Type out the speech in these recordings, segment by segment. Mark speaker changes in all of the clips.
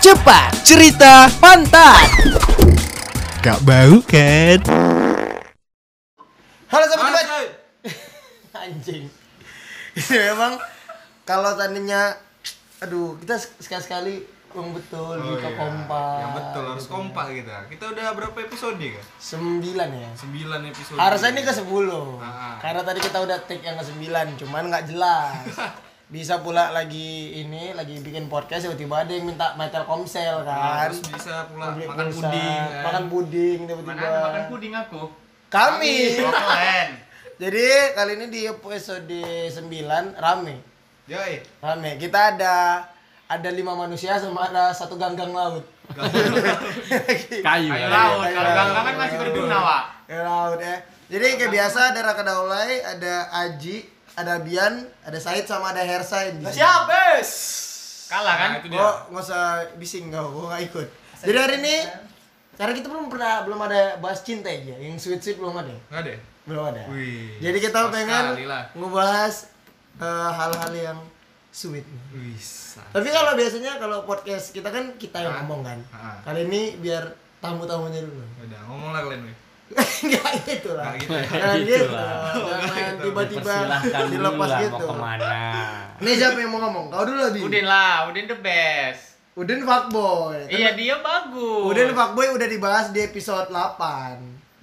Speaker 1: cepat cerita pantat.
Speaker 2: Gak bau kan?
Speaker 3: Halo sobat debat. Anjing. Memang kalau tadinya aduh, kita sekali-sekali yang betul
Speaker 4: Oh
Speaker 3: buka
Speaker 4: iya,
Speaker 3: kompak.
Speaker 4: Yang betul harus
Speaker 3: gitu.
Speaker 4: kompak kita. Kita udah berapa episode kan?
Speaker 3: Sembilan ya.
Speaker 4: 9 episode.
Speaker 3: Harusnya ini ke sepuluh
Speaker 4: Ah, ah.
Speaker 3: Karena tadi kita udah take yang ke sembilan cuman nggak jelas. Bisa pula lagi ini lagi bikin podcast tiba-tiba ada yang minta metal komsel
Speaker 4: Nah,
Speaker 3: kan.
Speaker 4: terus bisa pula
Speaker 3: Beli
Speaker 4: makan
Speaker 3: pulsa,
Speaker 4: puding. kan?
Speaker 5: kan?
Speaker 3: makan puding tiba-tiba.
Speaker 6: Mana ada makan puding aku? Oh,
Speaker 3: Kami.
Speaker 6: Keren.
Speaker 3: Jadi kali ini di episode 9 rame.
Speaker 4: Yoi.
Speaker 3: Rame. Kita ada ada lima manusia sama ada satu ganggang laut.
Speaker 6: Kayu. Laut.
Speaker 3: Kayu.
Speaker 6: Kalau ganggang kan masih berduna, Wak.
Speaker 3: Ya, laut ya. Jadi kayak biasa ada Raka Daulay, ada Aji, ada Bian, ada Said sama ada Hersa ini.
Speaker 6: Siapes. Kalah kan?
Speaker 4: Nah, itu dia.
Speaker 3: Gua nggak usah bising gak, gua nggak ikut. Jadi hari ini karena kita belum pernah belum ada bahas cinta aja, yang sweet sweet belum ada,
Speaker 4: Enggak deh.
Speaker 3: belum ada.
Speaker 4: Wih,
Speaker 3: Jadi kita
Speaker 4: pas
Speaker 3: pengen
Speaker 4: sekali lah.
Speaker 3: ngebahas eh, hal-hal yang sweet.
Speaker 4: Bisa.
Speaker 3: Tapi kalau biasanya kalau podcast kita kan kita
Speaker 4: Ah.
Speaker 3: yang ngomong kan.
Speaker 4: Ah.
Speaker 3: Kali ini biar tamu-tamunya dulu.
Speaker 4: Udah, ngomong lah kalian. weh.
Speaker 3: Enggak gitu lah.
Speaker 4: Nggak gitu ya. gitu.
Speaker 3: Jangan
Speaker 7: Gitu
Speaker 3: gitu.
Speaker 7: lah.
Speaker 3: Jangan tiba-tiba
Speaker 7: Silahkan dulu
Speaker 3: dilepas
Speaker 7: lah
Speaker 3: gitu.
Speaker 7: mau kemana
Speaker 3: Nih siapa yang mau ngomong? Kau dulu Adi.
Speaker 6: Udin lah, Udin the best.
Speaker 3: Udin fuckboy.
Speaker 6: Iya dia bagus.
Speaker 3: Udin fuckboy udah dibahas di episode 8.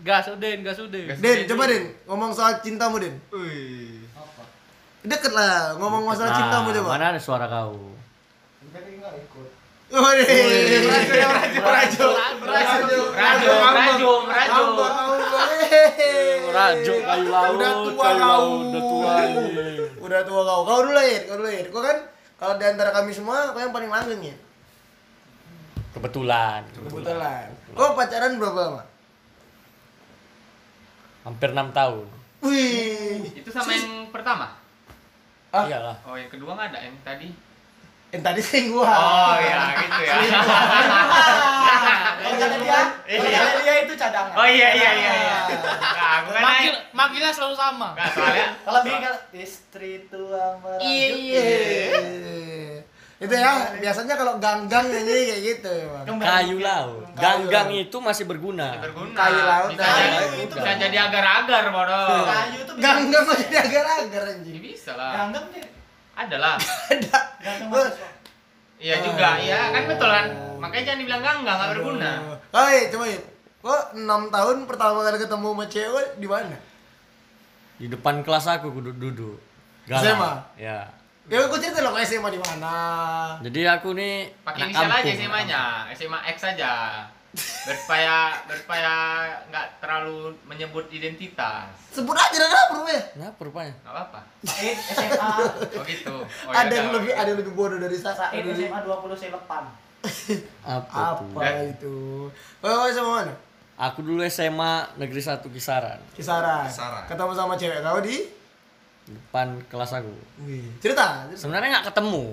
Speaker 6: Gas Udin, gas Udin.
Speaker 3: Din, coba Din, ngomong soal cintamu Din.
Speaker 4: Wih.
Speaker 3: Deket lah, ngomong masalah
Speaker 7: Nah,
Speaker 3: cintamu coba.
Speaker 7: mana ada suara kau
Speaker 3: Udin.
Speaker 6: Rajo, Rajo, Rajo, Rajo, Rajo.
Speaker 7: rajuk kayu laut
Speaker 3: Udah tua kau.
Speaker 7: kayu laut, udah tua anjing.
Speaker 3: Udah tua kau. Kau dulu lahir, kau dulu lahir. Kau kan kalau di antara kami semua kau yang paling langgeng ya.
Speaker 7: kebetulan
Speaker 3: Kebetulan. Kau pacaran berapa lama?
Speaker 7: hampir enam tahun
Speaker 3: Wih.
Speaker 6: Itu sama yang pertama.
Speaker 3: Ah.
Speaker 7: iyalah
Speaker 6: Oh, yang kedua nggak ada yang tadi.
Speaker 3: Yang tadi selingkuhan.
Speaker 6: Oh iya, gitu ya.
Speaker 3: Kalau kata dia, kalau kata dia itu cadangan.
Speaker 6: Iya.
Speaker 3: Ah.
Speaker 6: Oh iya iya iya. iya. Nah, aku kan naik.
Speaker 8: Manggilnya selalu sama.
Speaker 6: Nggak, soalnya
Speaker 8: Kalau kalau istri tua merajuk. Iya.
Speaker 3: Yeay. Itu ya, biasanya kalau ganggang nyanyi kayak gitu. Bang.
Speaker 7: kayu laut ganggang itu masih berguna
Speaker 6: berguna.
Speaker 3: Kayu laut,
Speaker 6: Bisa
Speaker 3: kayu
Speaker 6: jadi,
Speaker 7: itu
Speaker 6: bisa
Speaker 7: berguna.
Speaker 6: jadi agar-agar, bodoh.
Speaker 8: Kayu tuh
Speaker 3: Ganggang masih jadi agar-agar
Speaker 6: Ya
Speaker 3: anjing.
Speaker 6: bisa lah.
Speaker 8: Ganggang deh.
Speaker 6: Ada lah.
Speaker 3: Ada.
Speaker 8: Ganggang
Speaker 3: Oh,
Speaker 8: mahasiswa.
Speaker 6: Iya juga, iya kan betul kan. Makanya jangan dibilang ganggang, nggak berguna.
Speaker 3: Oh iya, coba ya. Kok 6 tahun pertama kali ketemu sama cewek di mana?
Speaker 7: di depan kelas aku kudu duduk
Speaker 3: SMA?
Speaker 7: ya
Speaker 3: Ya aku cerita loh kok SMA di mana.
Speaker 7: jadi aku nih anak
Speaker 6: Pakai inisial aja
Speaker 7: kampung.
Speaker 6: SMA-nya, SMA X aja. Biar supaya biar supaya nggak terlalu menyebut identitas.
Speaker 3: Sebut aja dah apa ya?
Speaker 7: kenapa rupanya
Speaker 6: Nggak apa-apa.
Speaker 3: Eh,
Speaker 8: Said SMA.
Speaker 6: Oh gitu. Oh,
Speaker 3: ada
Speaker 6: yaudah.
Speaker 3: yang lebih ada yang lebih bodoh dari saya.
Speaker 8: Said
Speaker 3: Dari-
Speaker 8: SMA 20 selepan.
Speaker 7: apa, tuh?
Speaker 3: Apa
Speaker 6: Dan-
Speaker 3: itu? Oh, sama mana?
Speaker 7: aku dulu SMA negeri satu kisaran
Speaker 3: Kisaran.
Speaker 4: Kisaran.
Speaker 3: Ketemu sama cewek kau di?
Speaker 7: depan kelas aku
Speaker 3: Wih. Cerita. cerita.
Speaker 7: sebenarnya nggak ketemu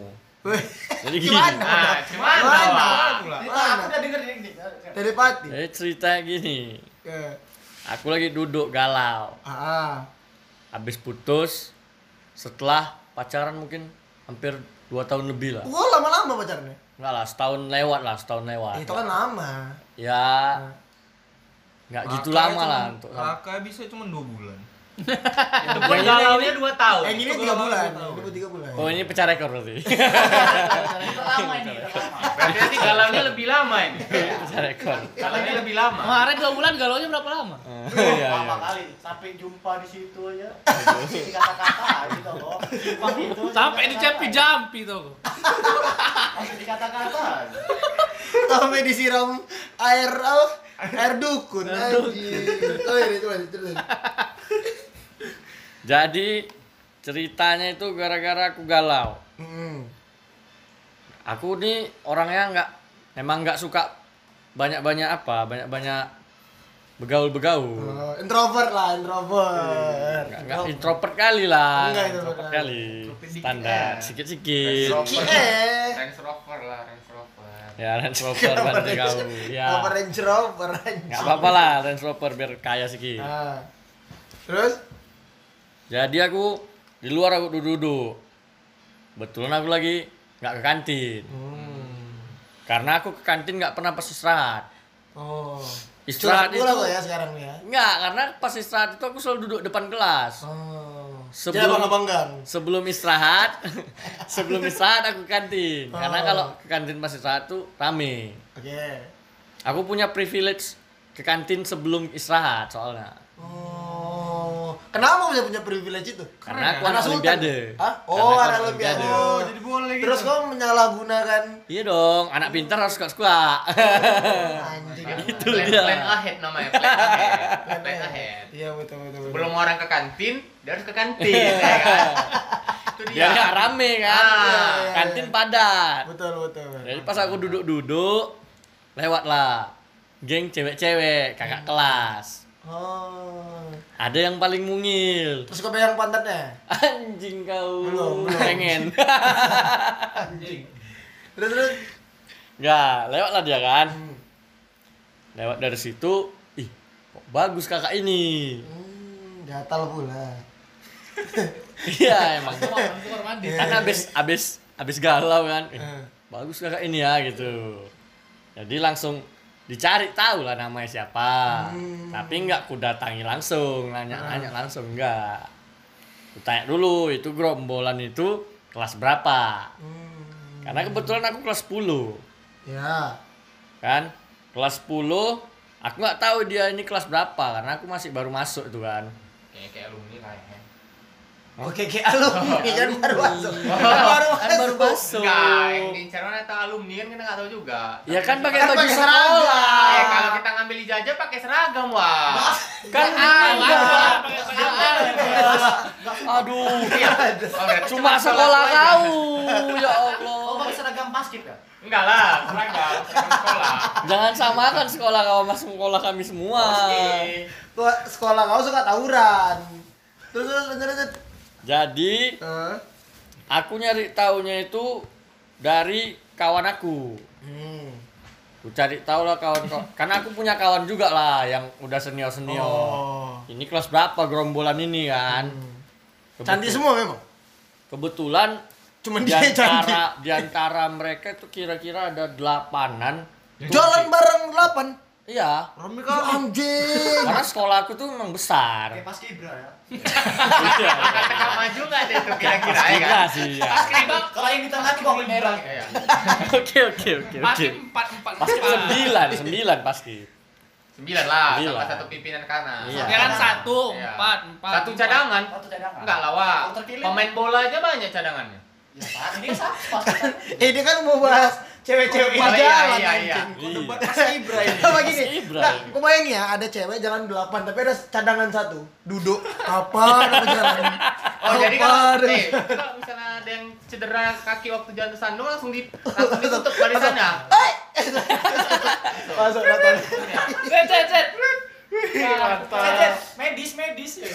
Speaker 3: Wih.
Speaker 7: jadi gini.
Speaker 3: Gimana?
Speaker 6: Nah, cuman
Speaker 3: Mana?
Speaker 4: Pula.
Speaker 8: Itu
Speaker 3: Mana?
Speaker 8: aku udah denger
Speaker 9: Iya,
Speaker 8: ini.
Speaker 3: Telepati.
Speaker 7: jadi cerita gini
Speaker 3: Eh,
Speaker 7: aku lagi duduk galau
Speaker 3: Ah, ah.
Speaker 7: habis putus setelah pacaran mungkin hampir dua tahun lebih lah
Speaker 3: Gua lama-lama pacarnya.
Speaker 7: enggak lah setahun lewat lah setahun lewat
Speaker 3: Itu kan lama.
Speaker 7: ya nggak gitu
Speaker 4: Raka
Speaker 7: lama
Speaker 4: cuman-
Speaker 7: lah untuk
Speaker 4: Raka bisa cuma 2 bulan.
Speaker 6: Itu pun galaunya 2 tahun.
Speaker 3: Yang Eh, ini
Speaker 4: itu
Speaker 3: tiga
Speaker 4: gua
Speaker 3: bulan.
Speaker 4: lama,
Speaker 3: Ini
Speaker 4: gua
Speaker 3: pun tiga bulan.
Speaker 7: oh ini pecah rekor berarti
Speaker 8: Itu lama ini. itu lama.
Speaker 6: Berarti nanti galaunya lebih lama ini.
Speaker 7: pecah rekor
Speaker 6: Galaunya lebih lama.
Speaker 8: Kemarin 2 bulan galaunya berapa lama?
Speaker 7: iya
Speaker 8: Lama
Speaker 7: iya
Speaker 8: kali. Sampai jumpa di situ aja. Di kata-kata gitu loh. Jumpa gitu.
Speaker 9: Sampai di jampi jampi tuh.
Speaker 8: Sampai di kata-kata.
Speaker 3: Sampai disiram air apa? Air dukun. anjing. Oh iya, coba cerita.
Speaker 7: jadi ceritanya itu gara-gara aku galau
Speaker 3: Hmm.
Speaker 7: aku nih orangnya nggak emang nggak suka banyak-banyak apa banyak-banyak begaul-begaul
Speaker 3: Oh, introvert lah, introvert.
Speaker 7: Nggak- nggak introvert kali lah
Speaker 3: Enggak,
Speaker 7: introvert
Speaker 3: introvert Iya.
Speaker 7: kali standar sedikit-sedikit
Speaker 6: Introvert.
Speaker 3: Kie.
Speaker 6: Range Rover lah, Range Rover.
Speaker 7: Ya Range Rover berarti kau. Ya.
Speaker 3: Apa Range Iya, Rover anjing.
Speaker 7: Enggak apa-apa lah Range Rover biar kaya sedikit.
Speaker 3: Ah. Terus?
Speaker 7: Jadi aku di luar
Speaker 3: Hmm.
Speaker 7: aku duduk-duduk. Betulan aku lagi nggak ke kantin. Karena aku ke kantin nggak pernah pas istirahat.
Speaker 3: Oh. Curhat
Speaker 7: Istirahat
Speaker 3: pula
Speaker 7: itu-
Speaker 3: kok ya sekarang ya.
Speaker 7: Nggak, karena pas istirahat itu aku selalu duduk depan kelas.
Speaker 3: Oh.
Speaker 7: Sebelum-
Speaker 3: Jadi abang-abanggan.
Speaker 7: Sebelum istirahat, sebelum istirahat aku ke kantin. Karena
Speaker 3: Oh.
Speaker 7: kalau ke kantin pas istirahat tuh rame.
Speaker 3: Oke.
Speaker 7: Aku punya privilege ke kantin sebelum istirahat soalnya.
Speaker 3: Oh. Kenapa bisa punya privilege itu?
Speaker 7: Karena aku
Speaker 3: Karena
Speaker 7: anak
Speaker 3: Sultan.
Speaker 7: olimpiade.
Speaker 3: Hah? Oh,
Speaker 7: Karena
Speaker 3: anak
Speaker 7: aku
Speaker 3: olimpiade.
Speaker 7: Olimpiade.
Speaker 3: Oh,
Speaker 4: jadi boleh gitu.
Speaker 3: Terus kau menyalahgunakan
Speaker 7: Iya dong, anak pintar harus suka suka.
Speaker 3: Oh, anjing.
Speaker 7: Itu
Speaker 6: plan,
Speaker 7: Iya, dia.
Speaker 6: plan ahead namanya, plan ahead. plan ahead.
Speaker 3: Iya, betul betul. betul.
Speaker 6: Sebelum orang ke kantin, dia harus ke kantin. ya kan? Itu
Speaker 7: Iya.
Speaker 6: dia.
Speaker 3: iya.
Speaker 7: Biar nggak rame kan.
Speaker 6: Ah.
Speaker 7: Kantin padat.
Speaker 3: betul betul.
Speaker 7: Jadi pas aku duduk-duduk, lewatlah geng cewek-cewek, kakak kelas.
Speaker 3: Oh.
Speaker 7: Ada yang paling mungil.
Speaker 3: Terus kau pegang pantatnya.
Speaker 7: Anjing kau.
Speaker 3: Belum, belum.
Speaker 7: Pengen.
Speaker 3: Terus terus.
Speaker 7: Enggak, lewatlah dia kan.
Speaker 3: Hmm.
Speaker 7: Lewat dari situ, ih, kok bagus kakak ini.
Speaker 3: Hmm, gatal pula.
Speaker 7: Iya, emang.
Speaker 9: Kamar mandi.
Speaker 3: Iya,
Speaker 7: kan abis abis abis galau kan Eh,
Speaker 3: Eh.
Speaker 7: bagus kakak ini ya gitu jadi langsung dicari tahu lah namanya siapa
Speaker 3: Hmm.
Speaker 7: tapi nggak ku datangi langsung nanya nanya langsung nggak ku tanya dulu itu gerombolan itu kelas berapa
Speaker 3: Hmm.
Speaker 7: karena kebetulan aku kelas 10
Speaker 3: Ya.
Speaker 7: kan kelas 10 aku nggak tahu dia ini kelas berapa karena aku masih baru masuk itu kan
Speaker 6: Kayak kayak alumni lah ya. Oh.
Speaker 3: Oke, kayak alumni kan baru masuk. Baru
Speaker 7: kan
Speaker 3: masuk.
Speaker 7: baru masuk
Speaker 6: Enggak, yang diincar mana atau alumni kan kita nggak tahu juga.
Speaker 7: ya kan
Speaker 6: Tapi-
Speaker 7: pakai
Speaker 3: Kan
Speaker 7: baju
Speaker 3: pakai seragam.
Speaker 7: sekolah
Speaker 6: Eh, kalau kita ngambil ijazah pakai seragam, wah.
Speaker 7: kan
Speaker 6: ada.
Speaker 7: aduh iya.
Speaker 6: Oh, berarti
Speaker 7: Cuma sekolah kau, ya Allah.
Speaker 8: seragam basket ya?
Speaker 6: Enggak lah, seragam, seragam sekolah.
Speaker 7: Jangan samakan sekolah kau sama sekolah kami semua.
Speaker 6: Oke.
Speaker 3: Tua, sekolah kau suka tawuran. Terus terus terus. terus.
Speaker 7: Jadi
Speaker 3: Eh.
Speaker 7: aku nyari taunya itu dari kawan aku.
Speaker 3: Hmm.
Speaker 7: Aku cari tahu lah kawan kawan. Karena aku punya kawan juga lah yang udah senior senior.
Speaker 3: Oh.
Speaker 7: Ini kelas berapa gerombolan ini kan? Kebetul-
Speaker 3: Cantik semua memang.
Speaker 7: Kebetulan
Speaker 3: Cuman
Speaker 7: di
Speaker 3: dia cantik.
Speaker 7: antara, di antara mereka itu kira-kira ada delapanan.
Speaker 3: Jalan bareng delapan.
Speaker 7: Iya,
Speaker 4: Rame
Speaker 3: Ya
Speaker 4: kau.
Speaker 3: anjing.
Speaker 7: karena sekolah aku tuh memang besar. kan?
Speaker 8: Kayak pas kibra ya?
Speaker 6: Kata maju nggak ada itu kira-kira ya
Speaker 7: Iya
Speaker 6: kan?
Speaker 7: sih ya.
Speaker 9: Eh,
Speaker 8: Kalau yang di tengah tuh bawa merah
Speaker 6: Iya.
Speaker 7: Oke oke oke oke.
Speaker 9: Pasti empat empat
Speaker 7: Pasti
Speaker 9: empat.
Speaker 7: sembilan sembilan pasti.
Speaker 6: Sembilan lah, sama
Speaker 7: Sembilan.
Speaker 6: satu pimpinan kanan.
Speaker 7: Iya.
Speaker 9: Ya kan satu
Speaker 6: Iya.
Speaker 9: empat empat.
Speaker 6: Satu
Speaker 9: empat.
Speaker 6: cadangan.
Speaker 8: Waktu cadangan
Speaker 6: Enggak lah, Wak.
Speaker 8: Yang terpilih.
Speaker 6: Pemain bola aja banyak cadangannya.
Speaker 8: Ya pak, ini kan sama pas
Speaker 3: Eh dia kan mau bahas cewek-cewek di
Speaker 6: Iya, iya,
Speaker 3: jalan
Speaker 6: iya.
Speaker 3: anjing.
Speaker 7: Iya.
Speaker 3: Debat Mas Ibra ini. Apa gini?
Speaker 7: Mas Ibra.
Speaker 3: Nah, kau bayangin ya ada cewek jalan delapan tapi ada cadangan satu duduk apa nama jalan.
Speaker 6: Oh, jadi
Speaker 3: Apa
Speaker 6: kalau,
Speaker 3: nama-
Speaker 6: eh, kalau misalnya ada yang cedera kaki waktu jalan ke sandung langsung di langsung ditutup barisannya.
Speaker 3: Masuk datang.
Speaker 9: Cet Eh, cet cet.
Speaker 3: Iya,
Speaker 6: Iya.
Speaker 8: Medis, medis ya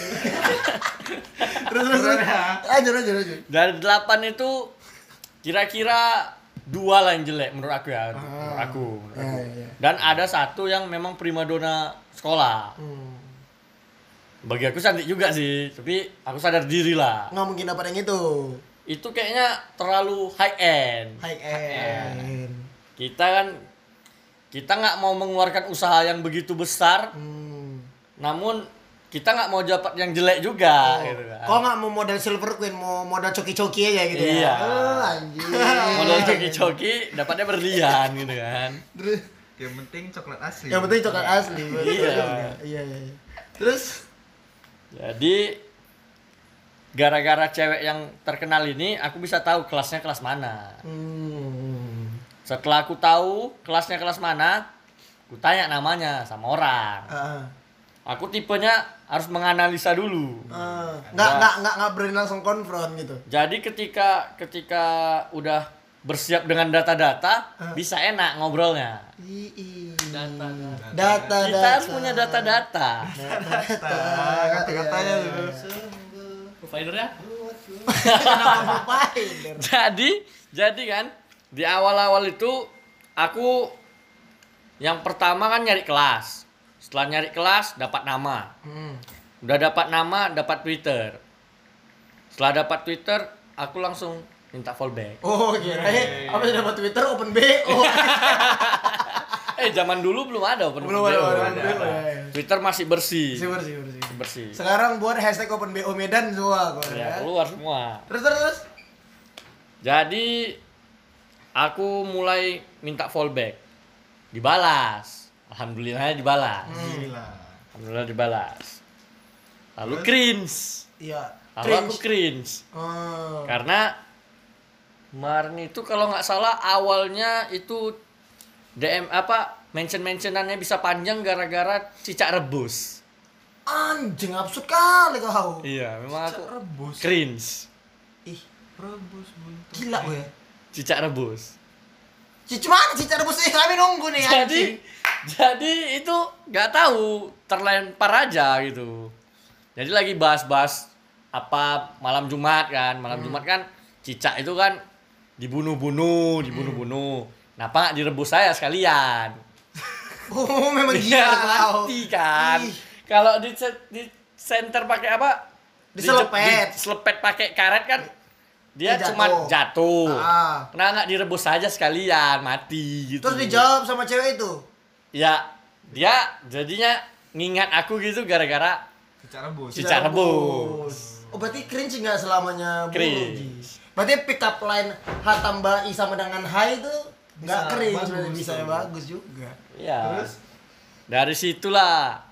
Speaker 3: Terus terus. terus. Lanjut lanjut lanjut.
Speaker 7: Dari delapan itu kira-kira dua lah yang jelek menurut aku
Speaker 8: Ah,
Speaker 7: ya. Menurut aku. menurut
Speaker 3: Iya,
Speaker 7: aku.
Speaker 3: iya.
Speaker 7: Dan ada satu yang memang primadona sekolah.
Speaker 3: Hmm.
Speaker 7: Bagi aku cantik juga sih, tapi aku sadar diri lah.
Speaker 3: Nggak mungkin dapat yang itu.
Speaker 7: Itu kayaknya terlalu high end.
Speaker 3: High end.
Speaker 7: Kita kan kita nggak mau mengeluarkan usaha yang begitu besar,
Speaker 3: Hmm.
Speaker 7: namun kita nggak mau dapat yang jelek juga. gitu kan.
Speaker 3: Oh. Kok nggak mau modal Silver Queen, mau modal coki-coki aja gitu
Speaker 7: Iya.
Speaker 3: ya? Oh, anjing.
Speaker 7: modal coki-coki dapatnya berlian gitu kan
Speaker 3: Terus,
Speaker 4: Yang penting coklat asli.
Speaker 3: yang penting coklat asli.
Speaker 7: Iya.
Speaker 3: Iya, iya. iya. Terus,
Speaker 7: jadi gara-gara cewek yang terkenal ini aku bisa tahu kelasnya kelas mana
Speaker 3: hmm.
Speaker 7: setelah aku tahu kelasnya kelas mana aku tanya namanya sama orang
Speaker 3: Ah,
Speaker 7: aku tipenya harus menganalisa dulu
Speaker 3: ah.
Speaker 7: Hmm.
Speaker 3: nggak nggak nggak nggak berani langsung konfront gitu.
Speaker 7: jadi ketika ketika udah bersiap dengan data-data
Speaker 3: Ah.
Speaker 7: bisa enak ngobrolnya
Speaker 3: Ii.
Speaker 9: Data,
Speaker 3: data,
Speaker 9: data.
Speaker 3: Ah,
Speaker 7: kita harus punya data-data iya,
Speaker 4: Kata-katanya tuh.
Speaker 9: Providernya.
Speaker 3: Provider.
Speaker 7: jadi jadi kan di awal-awal itu aku yang pertama kan nyari kelas setelah nyari kelas dapat nama
Speaker 3: Hmm.
Speaker 7: udah dapat nama dapat twitter setelah dapat twitter aku langsung minta fallback.
Speaker 3: Oh,
Speaker 7: Iya,
Speaker 3: kirain apa yang dapat Twitter open BO.
Speaker 7: Eh zaman dulu belum ada open
Speaker 3: Belum
Speaker 7: BO.
Speaker 3: ada, belum ada.
Speaker 7: Ada. Twitter masih bersih.
Speaker 3: Bersih, bersih, bersih.
Speaker 7: Bersih.
Speaker 3: Sekarang buat hashtag open BO Medan semua kok
Speaker 7: Ya,
Speaker 3: ya.
Speaker 7: keluar semua.
Speaker 3: Terus terus. terus.
Speaker 7: Jadi aku mulai minta fallback. Dibalas. Alhamdulillah dibalas.
Speaker 4: Gila.
Speaker 7: Alhamdulillah dibalas. Lalu cringe.
Speaker 3: Iya.
Speaker 7: Lalu aku
Speaker 3: Cringe.
Speaker 7: cringe.
Speaker 3: Oh.
Speaker 7: Karena kemarin itu kalau nggak salah awalnya itu DM apa mention-mentionannya bisa panjang gara-gara cicak rebus.
Speaker 3: Anjing absurd kali kau.
Speaker 7: Iya, memang aku
Speaker 4: Rebus.
Speaker 7: cringe.
Speaker 3: Ih,
Speaker 4: Rebus buntu.
Speaker 3: gila gue.
Speaker 7: Cicak rebus.
Speaker 3: Cici mana cici rebus eh kami nunggu nih
Speaker 7: jadi
Speaker 3: anjing.
Speaker 7: jadi itu nggak tahu terlempar aja gitu jadi lagi bahas-bahas apa malam Jumat kan
Speaker 3: Hmm.
Speaker 7: malam Jumat kan cicak itu kan
Speaker 3: Hmm.
Speaker 7: dibunuh-bunuh dibunuh-bunuh kenapa nggak direbus saya sekalian
Speaker 3: Oh, memang
Speaker 7: Biar
Speaker 3: gila kau.
Speaker 7: Iya, mati kan
Speaker 3: Ih,
Speaker 7: kalau di se- di center pakai apa Di-
Speaker 3: Diselepet.
Speaker 7: di- selepet pakai karet kan dia
Speaker 3: Dia
Speaker 7: cuma
Speaker 3: jatuh.
Speaker 7: jatuh
Speaker 3: Ah.
Speaker 7: kenapa nggak direbus saja sekalian mati gitu
Speaker 3: Terus dijawab sama cewek itu.
Speaker 7: ya dia jadinya ngingat aku gitu gara-gara
Speaker 4: Secara bus.
Speaker 7: Cica rebus.
Speaker 3: Oh, berarti cringe nggak selamanya buruk,
Speaker 7: Cringe.
Speaker 3: Ji? Berarti pick up line Hatamba I sama dengan Hai itu nggak
Speaker 4: Bisa
Speaker 3: cringe,
Speaker 4: bagus
Speaker 3: berarti bisa
Speaker 4: tuh.
Speaker 3: bagus juga.
Speaker 7: ya dari situlah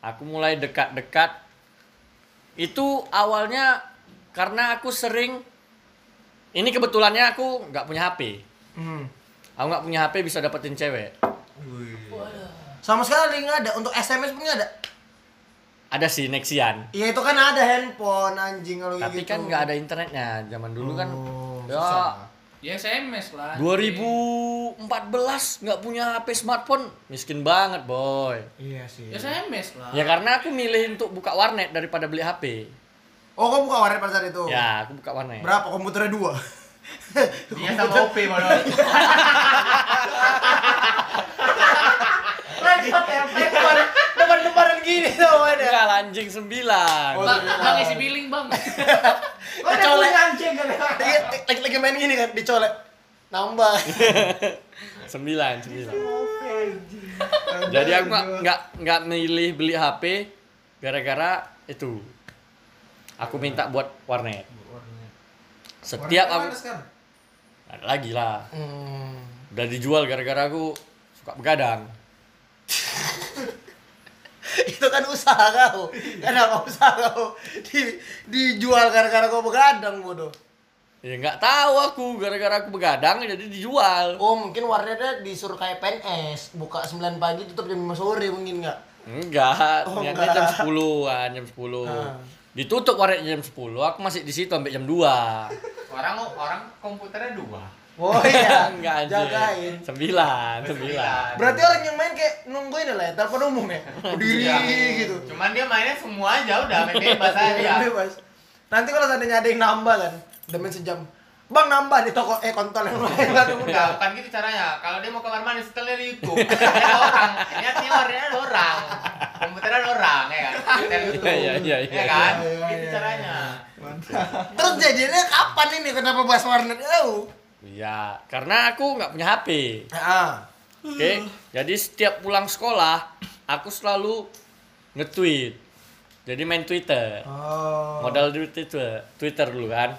Speaker 7: aku mulai dekat-dekat itu awalnya karena aku sering ini kebetulannya aku nggak punya HP
Speaker 3: Hmm.
Speaker 7: aku nggak punya HP bisa dapetin cewek
Speaker 3: Sama sekali nggak ada. Untuk SMS pun nggak ada.
Speaker 7: ada sih Nexian
Speaker 3: Iya itu kan ada handphone anjing kalau
Speaker 7: tapi
Speaker 3: gitu.
Speaker 7: kan nggak ada internetnya zaman dulu kan
Speaker 3: Oh,
Speaker 7: ya
Speaker 9: Ya SMS lah.
Speaker 7: 2014 nggak punya HP smartphone miskin banget boy
Speaker 3: Iya sih.
Speaker 9: Ya SMS lah.
Speaker 7: Ya karena aku milih untuk buka warnet daripada beli HP.
Speaker 3: Oh, kau buka warnet pada saat itu?
Speaker 7: Ya, aku buka warnet.
Speaker 3: Berapa komputernya dua?
Speaker 6: Dia sama OP bodoh.
Speaker 8: ya,
Speaker 3: Depan-depanan gini tuh ada.
Speaker 7: Enggak lah, anjing
Speaker 3: Oh.
Speaker 7: 9.
Speaker 9: Bang, bang isi billing bang.
Speaker 3: Kau ada punya anjing kan? Lagi lagi main gini kan dicolek. Nambah.
Speaker 7: 9, 9. Jadi aku nggak nggak nggak milih beli HP gara-gara itu. Aku minta buat warnet. Setiap aku ada lagi lah. Udah dijual gara-gara aku suka begadang.
Speaker 3: itu kan usaha kau. Kenapa usaha kau di, dijual gara-gara kau begadang bodoh?
Speaker 7: Ya nggak tahu aku gara-gara aku begadang ya jadi dijual.
Speaker 3: Oh, mungkin warnetnya disuruh kayak PNS, buka 9 pagi tutup jam 5 sore mungkin enggak?
Speaker 7: Enggak,
Speaker 3: Oh,
Speaker 7: niatnya
Speaker 3: enggak.
Speaker 7: jam 10-an, jam 10.
Speaker 3: Ah.
Speaker 7: Ditutup warnetnya jam 10, aku masih di situ sampai jam 2.
Speaker 6: Orang orang komputernya dua.
Speaker 3: Oh iya,
Speaker 7: Enggak anjir.
Speaker 3: jagain. Iya,
Speaker 7: 9, 9.
Speaker 3: Berarti orang yang main kayak nungguin lah ya, telepon umum ya. Berdiri
Speaker 6: Iya.
Speaker 3: gitu.
Speaker 6: Cuman dia mainnya semua aja udah main bebas aja.
Speaker 3: Iya, bebas. Nanti kalau seandainya ada yang nambah kan, udah main sejam. Bang nambah di toko eh kontol yang lain kan
Speaker 6: Enggak, bukan gitu caranya. Kalau dia mau kamar mandi setelnya di YouTube. ada orang. Niatnya warnanya ada orang. Komputernya ada orang ya kan. Setel YouTube.
Speaker 7: Iya, iya, iya,
Speaker 6: Ya kan?
Speaker 3: iya, iya,
Speaker 6: Gitu
Speaker 3: iya.
Speaker 6: caranya.
Speaker 3: Terus jadinya kapan ini kenapa bahas warnet? Oh.
Speaker 7: Iya, karena aku nggak punya HP.
Speaker 3: Ah.
Speaker 7: Oke, jadi setiap pulang sekolah aku selalu nge-tweet. Jadi main Twitter.
Speaker 3: Oh.
Speaker 7: modal di Twitter, Twitter dulu kan.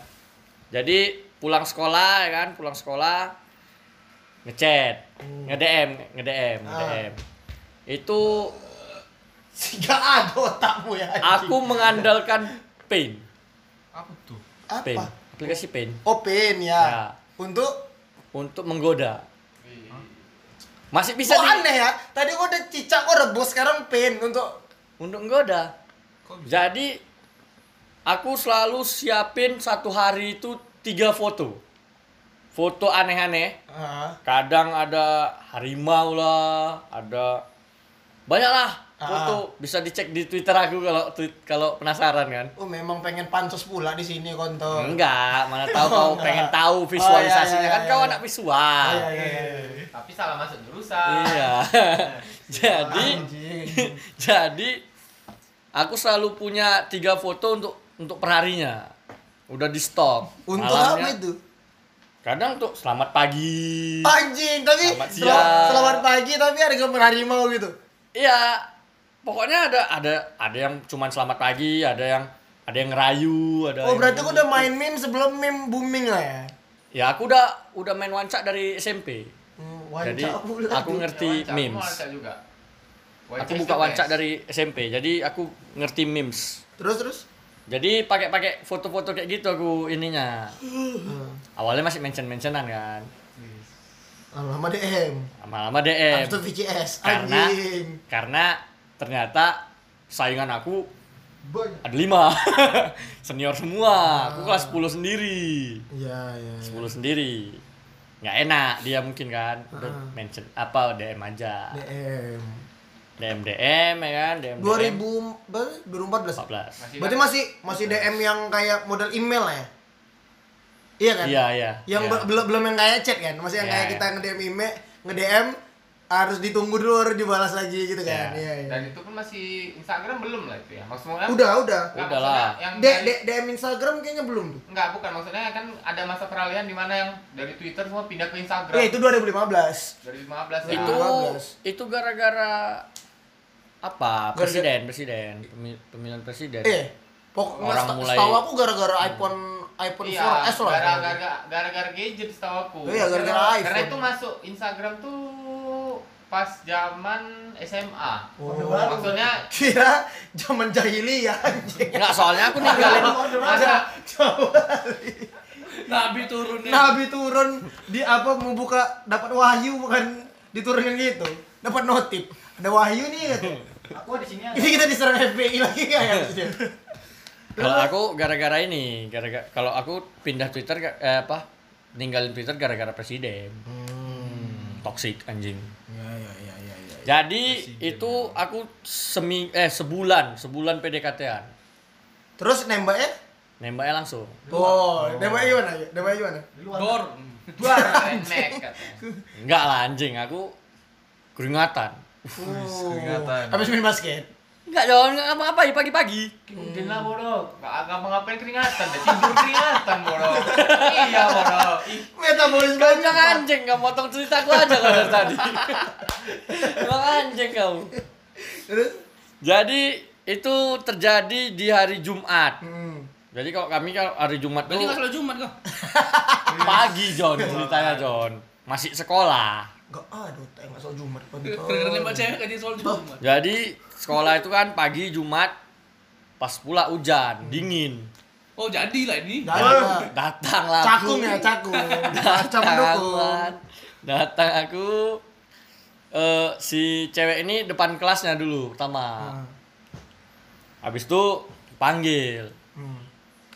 Speaker 7: Jadi pulang sekolah ya kan, pulang sekolah ngechat,
Speaker 3: Hmm.
Speaker 7: nge-DM, nge-DM,
Speaker 3: Ah.
Speaker 7: nge-DM. Itu
Speaker 3: Gak ada otakmu ya. anjing.
Speaker 7: aku mengandalkan Paint,
Speaker 4: Apa tuh?
Speaker 3: apa?
Speaker 7: Paint, aplikasi Paint
Speaker 3: Open ya.
Speaker 7: Ya.
Speaker 3: Untuk
Speaker 7: untuk menggoda. Masih bisa
Speaker 3: Kok
Speaker 7: di-
Speaker 3: aneh ya? Tadi gua udah cicak gua rebus sekarang pin untuk
Speaker 7: untuk menggoda. Jadi aku selalu siapin satu hari itu tiga foto. Foto aneh-aneh.
Speaker 3: ah.
Speaker 7: kadang ada harimau lah ada banyak lah
Speaker 3: Ah.
Speaker 7: foto bisa dicek di twitter aku kalau tweet- kalau penasaran kan
Speaker 3: Oh memang pengen pansos pula di sini kontol.
Speaker 7: enggak mana tahu kau
Speaker 3: enggak.
Speaker 7: pengen tahu
Speaker 3: Oh, iya,
Speaker 7: visualisasinya
Speaker 3: iya,
Speaker 7: kan kau
Speaker 3: iya.
Speaker 7: anak visual
Speaker 3: Iya, iya, iya, iya.
Speaker 6: Tapi salah masuk jurusan.
Speaker 7: iya jadi
Speaker 3: Anjing.
Speaker 7: jadi aku selalu punya tiga foto untuk untuk perharinya udah di stok
Speaker 3: Untuk
Speaker 7: Malamnya-
Speaker 3: apa itu?
Speaker 7: Kadang tuh selamat pagi.
Speaker 3: Anjing, tapi
Speaker 7: Selamat
Speaker 3: sel-
Speaker 7: siang.
Speaker 3: selamat pagi tapi ada gambar harimau gitu.
Speaker 7: Iya, pokoknya ada ada ada yang cuman selamat pagi, ada yang ada yang ngerayu, ada.
Speaker 3: Oh,
Speaker 7: yang-
Speaker 3: berarti aku udah main meme sebelum meme booming lah ya.
Speaker 7: Ya aku udah udah main wancak dari SMP.
Speaker 3: Hmm,
Speaker 7: Jadi
Speaker 3: wancak pula
Speaker 7: aku
Speaker 3: tuh.
Speaker 7: ngerti
Speaker 6: Wancak,
Speaker 7: memes.
Speaker 6: Wancak juga.
Speaker 7: Aku
Speaker 6: is
Speaker 7: buka
Speaker 6: the
Speaker 7: wancak
Speaker 6: best.
Speaker 7: dari SMP, jadi aku ngerti memes.
Speaker 3: Terus terus.
Speaker 7: Jadi pakai-pakai foto-foto kayak gitu aku ininya. Hmm. Awalnya masih mention-mentionan kan.
Speaker 3: Ah, Lama-lama DM.
Speaker 7: Lama-lama DM.
Speaker 3: After VCS,
Speaker 7: Karena
Speaker 3: anjing.
Speaker 7: karena ternyata saingan aku ada lima senior
Speaker 3: Ah.
Speaker 7: semua aku kelas 10 sendiri
Speaker 3: Ya, ya.
Speaker 7: 10 sendiri nggak enak dia mungkin kan udah
Speaker 3: Ah.
Speaker 7: mention apa DM aja
Speaker 3: DM.
Speaker 7: DM DM ya kan DM
Speaker 3: 2000 berapa? 2014. Berarti
Speaker 7: 14
Speaker 6: Masih dapat.
Speaker 3: masih masih DM yang kayak model email lah ya? Iya kan?
Speaker 7: iya iya
Speaker 3: Yang
Speaker 7: iya.
Speaker 3: be- belum belum yang kayak chat kan? Masih yang
Speaker 7: Iya,
Speaker 3: kayak
Speaker 7: iya.
Speaker 3: kita nge-DM email, nge-DM harus ditunggu dulu baru dibalas lagi gitu kan.
Speaker 7: Iya.
Speaker 3: Iya, iya.
Speaker 6: dan itu pun masih Instagram belum lah itu ya. Maksudnya
Speaker 3: Udah, udah.
Speaker 6: Nggak,
Speaker 7: Udah
Speaker 6: maksudnya
Speaker 7: lah.
Speaker 6: Yang
Speaker 3: D-
Speaker 6: dari-
Speaker 3: D- DM Instagram kayaknya belum tuh.
Speaker 6: Enggak, bukan maksudnya kan ada masa peralihan di mana yang dari Twitter semua pindah ke Instagram.
Speaker 3: Eh, itu 2015.
Speaker 6: dari 15 ya.
Speaker 7: itu
Speaker 3: 15.
Speaker 7: itu gara-gara apa
Speaker 3: Gara-gara-
Speaker 7: presiden presiden Pemi- pemilihan presiden
Speaker 3: Eh, pokoknya
Speaker 7: Iya. Orang
Speaker 3: seta-
Speaker 7: mulai- Hmm.
Speaker 3: setahu aku gara-gara iPhone iPhone
Speaker 6: Iya,
Speaker 3: 4S lah.
Speaker 6: gara-gara gara-gara gadget setahu aku.
Speaker 3: Iya, gara-gara
Speaker 6: Karena-
Speaker 3: iPhone.
Speaker 6: Karena itu masuk Instagram tuh pas zaman SMA.
Speaker 3: Waduh.
Speaker 6: Maksudnya
Speaker 3: Kira zaman jahiliyah anjing.
Speaker 7: nggak soalnya aku ninggalin
Speaker 6: masa
Speaker 9: Nabi turunnya.
Speaker 3: Nabi turun di apa mau buka dapat wahyu bukan diturunin gitu. Dapat notif. Ada wahyu nih. kata.
Speaker 8: Aku di sini ada.
Speaker 3: Ini kita diserang FBI lagi kayak ya.
Speaker 7: Kalau aku gara-gara ini, gara-gara kalau aku pindah Twitter ga- eh, apa? Ninggalin Twitter gara-gara presiden. Hmm, Toxic anjing. Jadi itu aku semi eh sebulan, sebulan PDKT-an.
Speaker 3: Terus nembaknya?
Speaker 7: Nembaknya langsung.
Speaker 3: Oh, nembaknya gimana? Nembaknya gimana?
Speaker 9: Dor.
Speaker 6: Redneck katanya.
Speaker 7: Enggak lah anjing, aku keringatan.
Speaker 3: Oh.
Speaker 4: Keringatan.
Speaker 3: Habis main basket.
Speaker 7: Enggak jalan enggak apa-apa ya pagi-pagi.
Speaker 6: Mungkin lah bodoh. Enggak agak ngapain keringatan, dah tidur keringatan bodoh. iya bodoh. Ih,
Speaker 3: Metabolisme kan?
Speaker 7: Kau bilang
Speaker 3: cepat.
Speaker 7: anjing, enggak motong cerita aku aja kalau dari tadi. Bilang anjing kau.
Speaker 3: Terus?
Speaker 7: Jadi itu terjadi di hari Jumat.
Speaker 3: Hmm.
Speaker 7: Jadi kalau kami kalau hari Jumat
Speaker 9: Berarti
Speaker 7: tuh
Speaker 9: nggak selalu Jumat kau.
Speaker 7: pagi John ceritanya John masih sekolah.
Speaker 3: Gak ada, tak masuk Jumat.
Speaker 9: Gara-gara nembak cewek aja selalu Jumat.
Speaker 7: Jadi sekolah itu kan pagi Jumat pas pula hujan dingin
Speaker 9: Oh jadilah ini.
Speaker 3: Gak ada.
Speaker 7: datanglah aku.
Speaker 3: Cakung ya, cakung. Cakung mendukung.
Speaker 7: Datang, datang aku eh si cewek ini depan kelasnya dulu pertama habis itu panggil
Speaker 3: Hmm.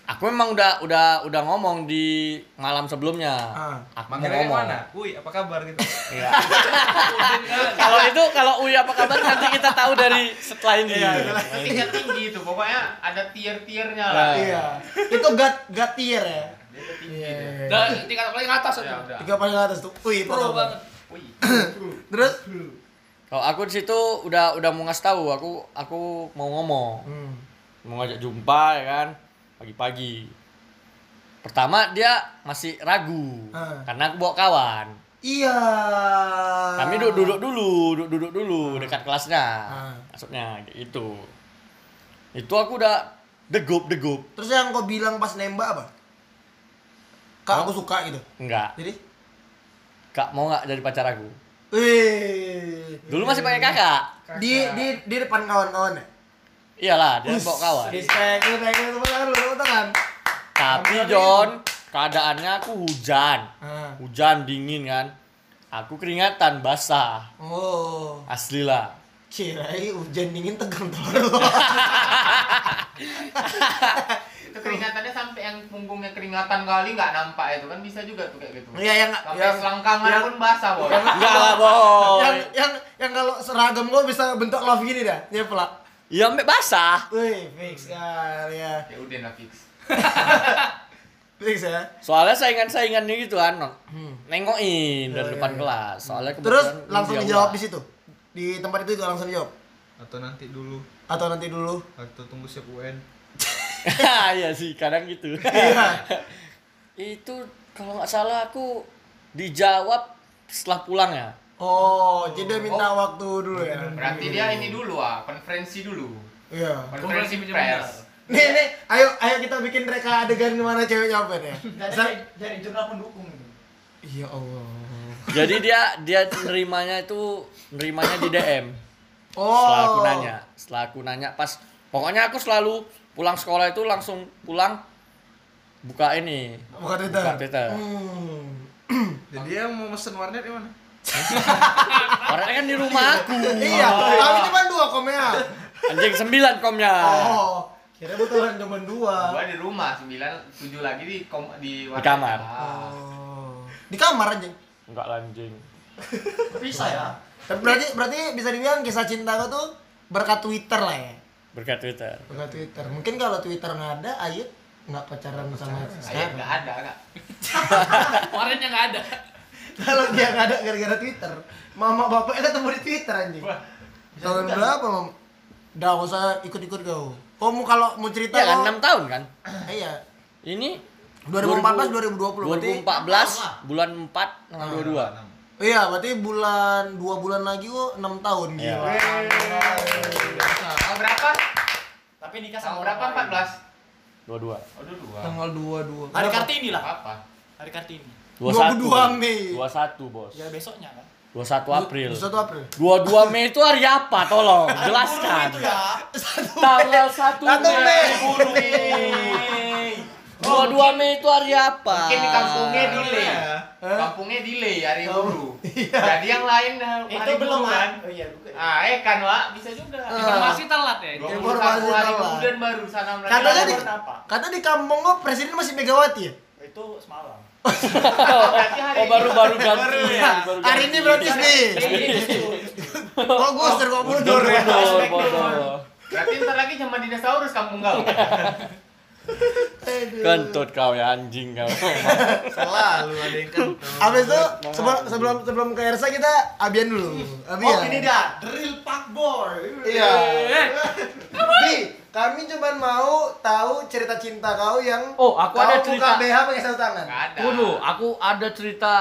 Speaker 7: aku memang udah udah udah ngomong di malam sebelumnya
Speaker 3: Ah.
Speaker 7: aku mau
Speaker 4: Manggilnya kayak
Speaker 7: ngomong
Speaker 4: mana? Woi, apa kabar gitu.
Speaker 7: kalau itu kalau Uy apa kabar nanti kita tahu dari setelah ini
Speaker 6: tingkat tinggi itu pokoknya ada tier-tiernya lah.
Speaker 7: Nah,
Speaker 3: Iya. Itu gat gat tier ya.
Speaker 6: Dia tuh tinggi.
Speaker 3: Iya.
Speaker 6: dia.
Speaker 9: Dan tingkat paling atas
Speaker 6: Ya
Speaker 9: itu.
Speaker 6: udah.
Speaker 3: Tiga paling atas tuh. Wih,
Speaker 9: Pro banget.
Speaker 6: Wih.
Speaker 3: Terus?
Speaker 7: kalau aku di situ udah udah mau ngasih tahu aku aku mau ngomong
Speaker 3: Hmm.
Speaker 7: mau ngajak jumpa ya kan pagi-pagi pertama dia masih ragu
Speaker 3: Ah.
Speaker 7: karena aku bawa kawan
Speaker 3: Iya.
Speaker 7: kami duduk duduk dulu duduk duduk dulu dekat kelasnya
Speaker 3: Ah.
Speaker 7: maksudnya kayak gitu itu aku udah degup degup
Speaker 3: Terus yang kau bilang pas nembak apa? Kak, aku suka gitu.
Speaker 7: enggak
Speaker 3: Jadi,
Speaker 7: kak mau nggak jadi pacar aku
Speaker 3: wih.
Speaker 7: dulu masih pakai kakak
Speaker 3: Di di di depan ya? kawan-kawannya.
Speaker 7: iyalah dia bawa kawan
Speaker 3: Respect, lu thank you tepuk tangan lu, tepuk tangan.
Speaker 7: Tapi John, keadaannya aku hujan.
Speaker 3: Ah.
Speaker 7: Hujan dingin kan. Aku keringatan basah.
Speaker 3: Oh,
Speaker 7: Asli lah.
Speaker 3: kirain hujan dingin tegang telur lu.
Speaker 6: itu keringatannya sampai yang punggungnya keringatan kali nggak nampak itu kan bisa juga tuh kayak gitu
Speaker 3: Iya, yang
Speaker 6: sampai
Speaker 3: yang
Speaker 6: selangkangan
Speaker 3: yang-
Speaker 6: pun basah boy
Speaker 7: Enggak lah, boy.
Speaker 3: yang yang yang kalau seragam gua bisa bentuk love gini dah dia pelak
Speaker 7: Ya sampai basah.
Speaker 3: wih fix kali ya
Speaker 6: ya udah lah fix
Speaker 3: fix ya
Speaker 7: Soalnya saingan-saingannya gitu kan. Nengokin dari depan kelas.
Speaker 3: Oh,
Speaker 7: Soalnya
Speaker 3: iya, terus
Speaker 7: kebetulan
Speaker 3: langsung
Speaker 7: dia
Speaker 3: dijawab
Speaker 7: ulang.
Speaker 3: di situ di tempat itu juga langsung dijawab
Speaker 4: Atau nanti dulu
Speaker 3: atau nanti dulu
Speaker 4: atau tunggu siap UN.
Speaker 7: Ah, Iya sih, kadang gitu.
Speaker 3: iya
Speaker 7: Itu kalau nggak salah aku dijawab setelah pulang ya
Speaker 3: Oh, jadi dia minta waktu dulu ya.
Speaker 6: Berarti dia ini dulu ah, konferensi dulu.
Speaker 3: Iya.
Speaker 6: Konferensi
Speaker 9: Konferensi
Speaker 6: pers.
Speaker 3: Nih, nih, ayo ayo kita bikin reka adegan gimana cewek nyamper ya.
Speaker 8: Dari dari jurnal pendukung ini.
Speaker 3: Ya Allah.
Speaker 7: jadi dia dia nerimanya itu nerimanya di DM
Speaker 3: Oh.
Speaker 7: setelah aku nanya setelah aku nanya pas pokoknya aku selalu pulang sekolah itu langsung pulang buka ini
Speaker 3: Buka Twitter.
Speaker 7: Buka Twitter.
Speaker 3: Hmm.
Speaker 4: Jadi dia mau mesen warnet di mana?
Speaker 7: orangnya kan di rumah aku
Speaker 3: Iya, kami cuma dua komnya.
Speaker 7: anjing sembilan komnya
Speaker 3: Oh, kira betulan cuma dua.
Speaker 6: Gua di rumah 9 7 lagi di kom, di, warnet.
Speaker 7: kamar.
Speaker 6: Ah.
Speaker 3: Oh. Di kamar anjing.
Speaker 7: enggak lah, anjing
Speaker 8: Bisa ya.
Speaker 3: Tapi berarti berarti bisa dibilang kisah cinta kau tuh berkat Twitter lah ya.
Speaker 7: berkat Twitter
Speaker 3: Berkat Twitter. Mungkin kalau Twitter nggak ada, Ayut nggak pacaran sama
Speaker 6: Saya
Speaker 3: sekarang.
Speaker 6: enggak ada, enggak.
Speaker 9: Warnanya nggak ada.
Speaker 3: Kalau dia nggak ada gara-gara Twitter, mama bapaknya ketemu di Twitter anjing. Tahun berapa, Mam? Dah, gak usah ikut-ikut kau. Kamu kalau mau cerita
Speaker 7: ya kan
Speaker 3: kau-
Speaker 7: enam tahun kan
Speaker 3: Eh, Iya.
Speaker 7: ini
Speaker 3: 2014 2020 berarti.
Speaker 7: 2014 bulan 4 tanggal 22
Speaker 3: Iya, berarti bulan dua bulan lagi kok 6 tahun
Speaker 7: Iya.
Speaker 3: gila.
Speaker 6: Tahun berapa?
Speaker 8: Tapi nikah
Speaker 6: Tahun
Speaker 8: sama
Speaker 6: berapa?
Speaker 8: orang lain.
Speaker 7: 22
Speaker 6: 14. Aduh, dua.
Speaker 3: Tanggal 22.
Speaker 8: Hari Kartini lah.
Speaker 6: Apa?
Speaker 8: Hari Kartini.
Speaker 3: 21. 22 Mei.
Speaker 7: 21 bos
Speaker 8: Ya besoknya kan.
Speaker 7: 21 April
Speaker 3: 1 April.
Speaker 7: 22 Mei itu hari apa tolong jelaskan
Speaker 8: Itu ya.
Speaker 7: tanggal 1
Speaker 3: Satu
Speaker 7: Mei
Speaker 3: Mei.
Speaker 7: buru. 22 Mei itu hari apa
Speaker 6: Mungkin di kampungnya delay.
Speaker 3: Hah?
Speaker 6: Kampungnya delay hari buru. Jadi yang lain eh, hari
Speaker 8: Itu belum
Speaker 6: buruan.
Speaker 8: kan. Oh iya bukan.
Speaker 6: Ah, eh kan, Wak, bisa juga.
Speaker 8: Ah.
Speaker 9: Informasi telat ya.
Speaker 6: Dua
Speaker 9: itu.
Speaker 6: puluh
Speaker 3: Informasi
Speaker 6: satu hari
Speaker 3: telat.
Speaker 6: kemudian baru sana mereka
Speaker 3: Katanya di
Speaker 6: lapor.
Speaker 8: Kenapa?
Speaker 3: kata di kampung kok presiden masih Megawati ya?
Speaker 8: Itu semalam.
Speaker 6: Berarti hari
Speaker 7: oh
Speaker 6: ini-
Speaker 7: baru baru ganti baru
Speaker 3: Hari ini berarti
Speaker 7: ya. Iya.
Speaker 3: SBY. Kok gue ser kok mundur ya?
Speaker 7: Bodoh, bodoh.
Speaker 6: Berarti ntar lagi zaman dinosaurus kampung kau.
Speaker 3: Aduh.
Speaker 7: kentut kau ya anjing kau
Speaker 4: Selalu ada yang kentut.
Speaker 3: Abis itu sebelum sebelum sebelum ke Ersa kita abian dulu. Abian.
Speaker 8: Oh ini dah drill pak boy.
Speaker 3: Iya.
Speaker 7: Eh,
Speaker 3: Bi, kami cuma mau tahu cerita cinta kau yang
Speaker 7: Oh, aku
Speaker 3: kau
Speaker 7: ada
Speaker 3: buka
Speaker 7: cerita.
Speaker 3: BH pakai satu tangan.
Speaker 6: Nggak ada.
Speaker 7: Dulu, aku ada cerita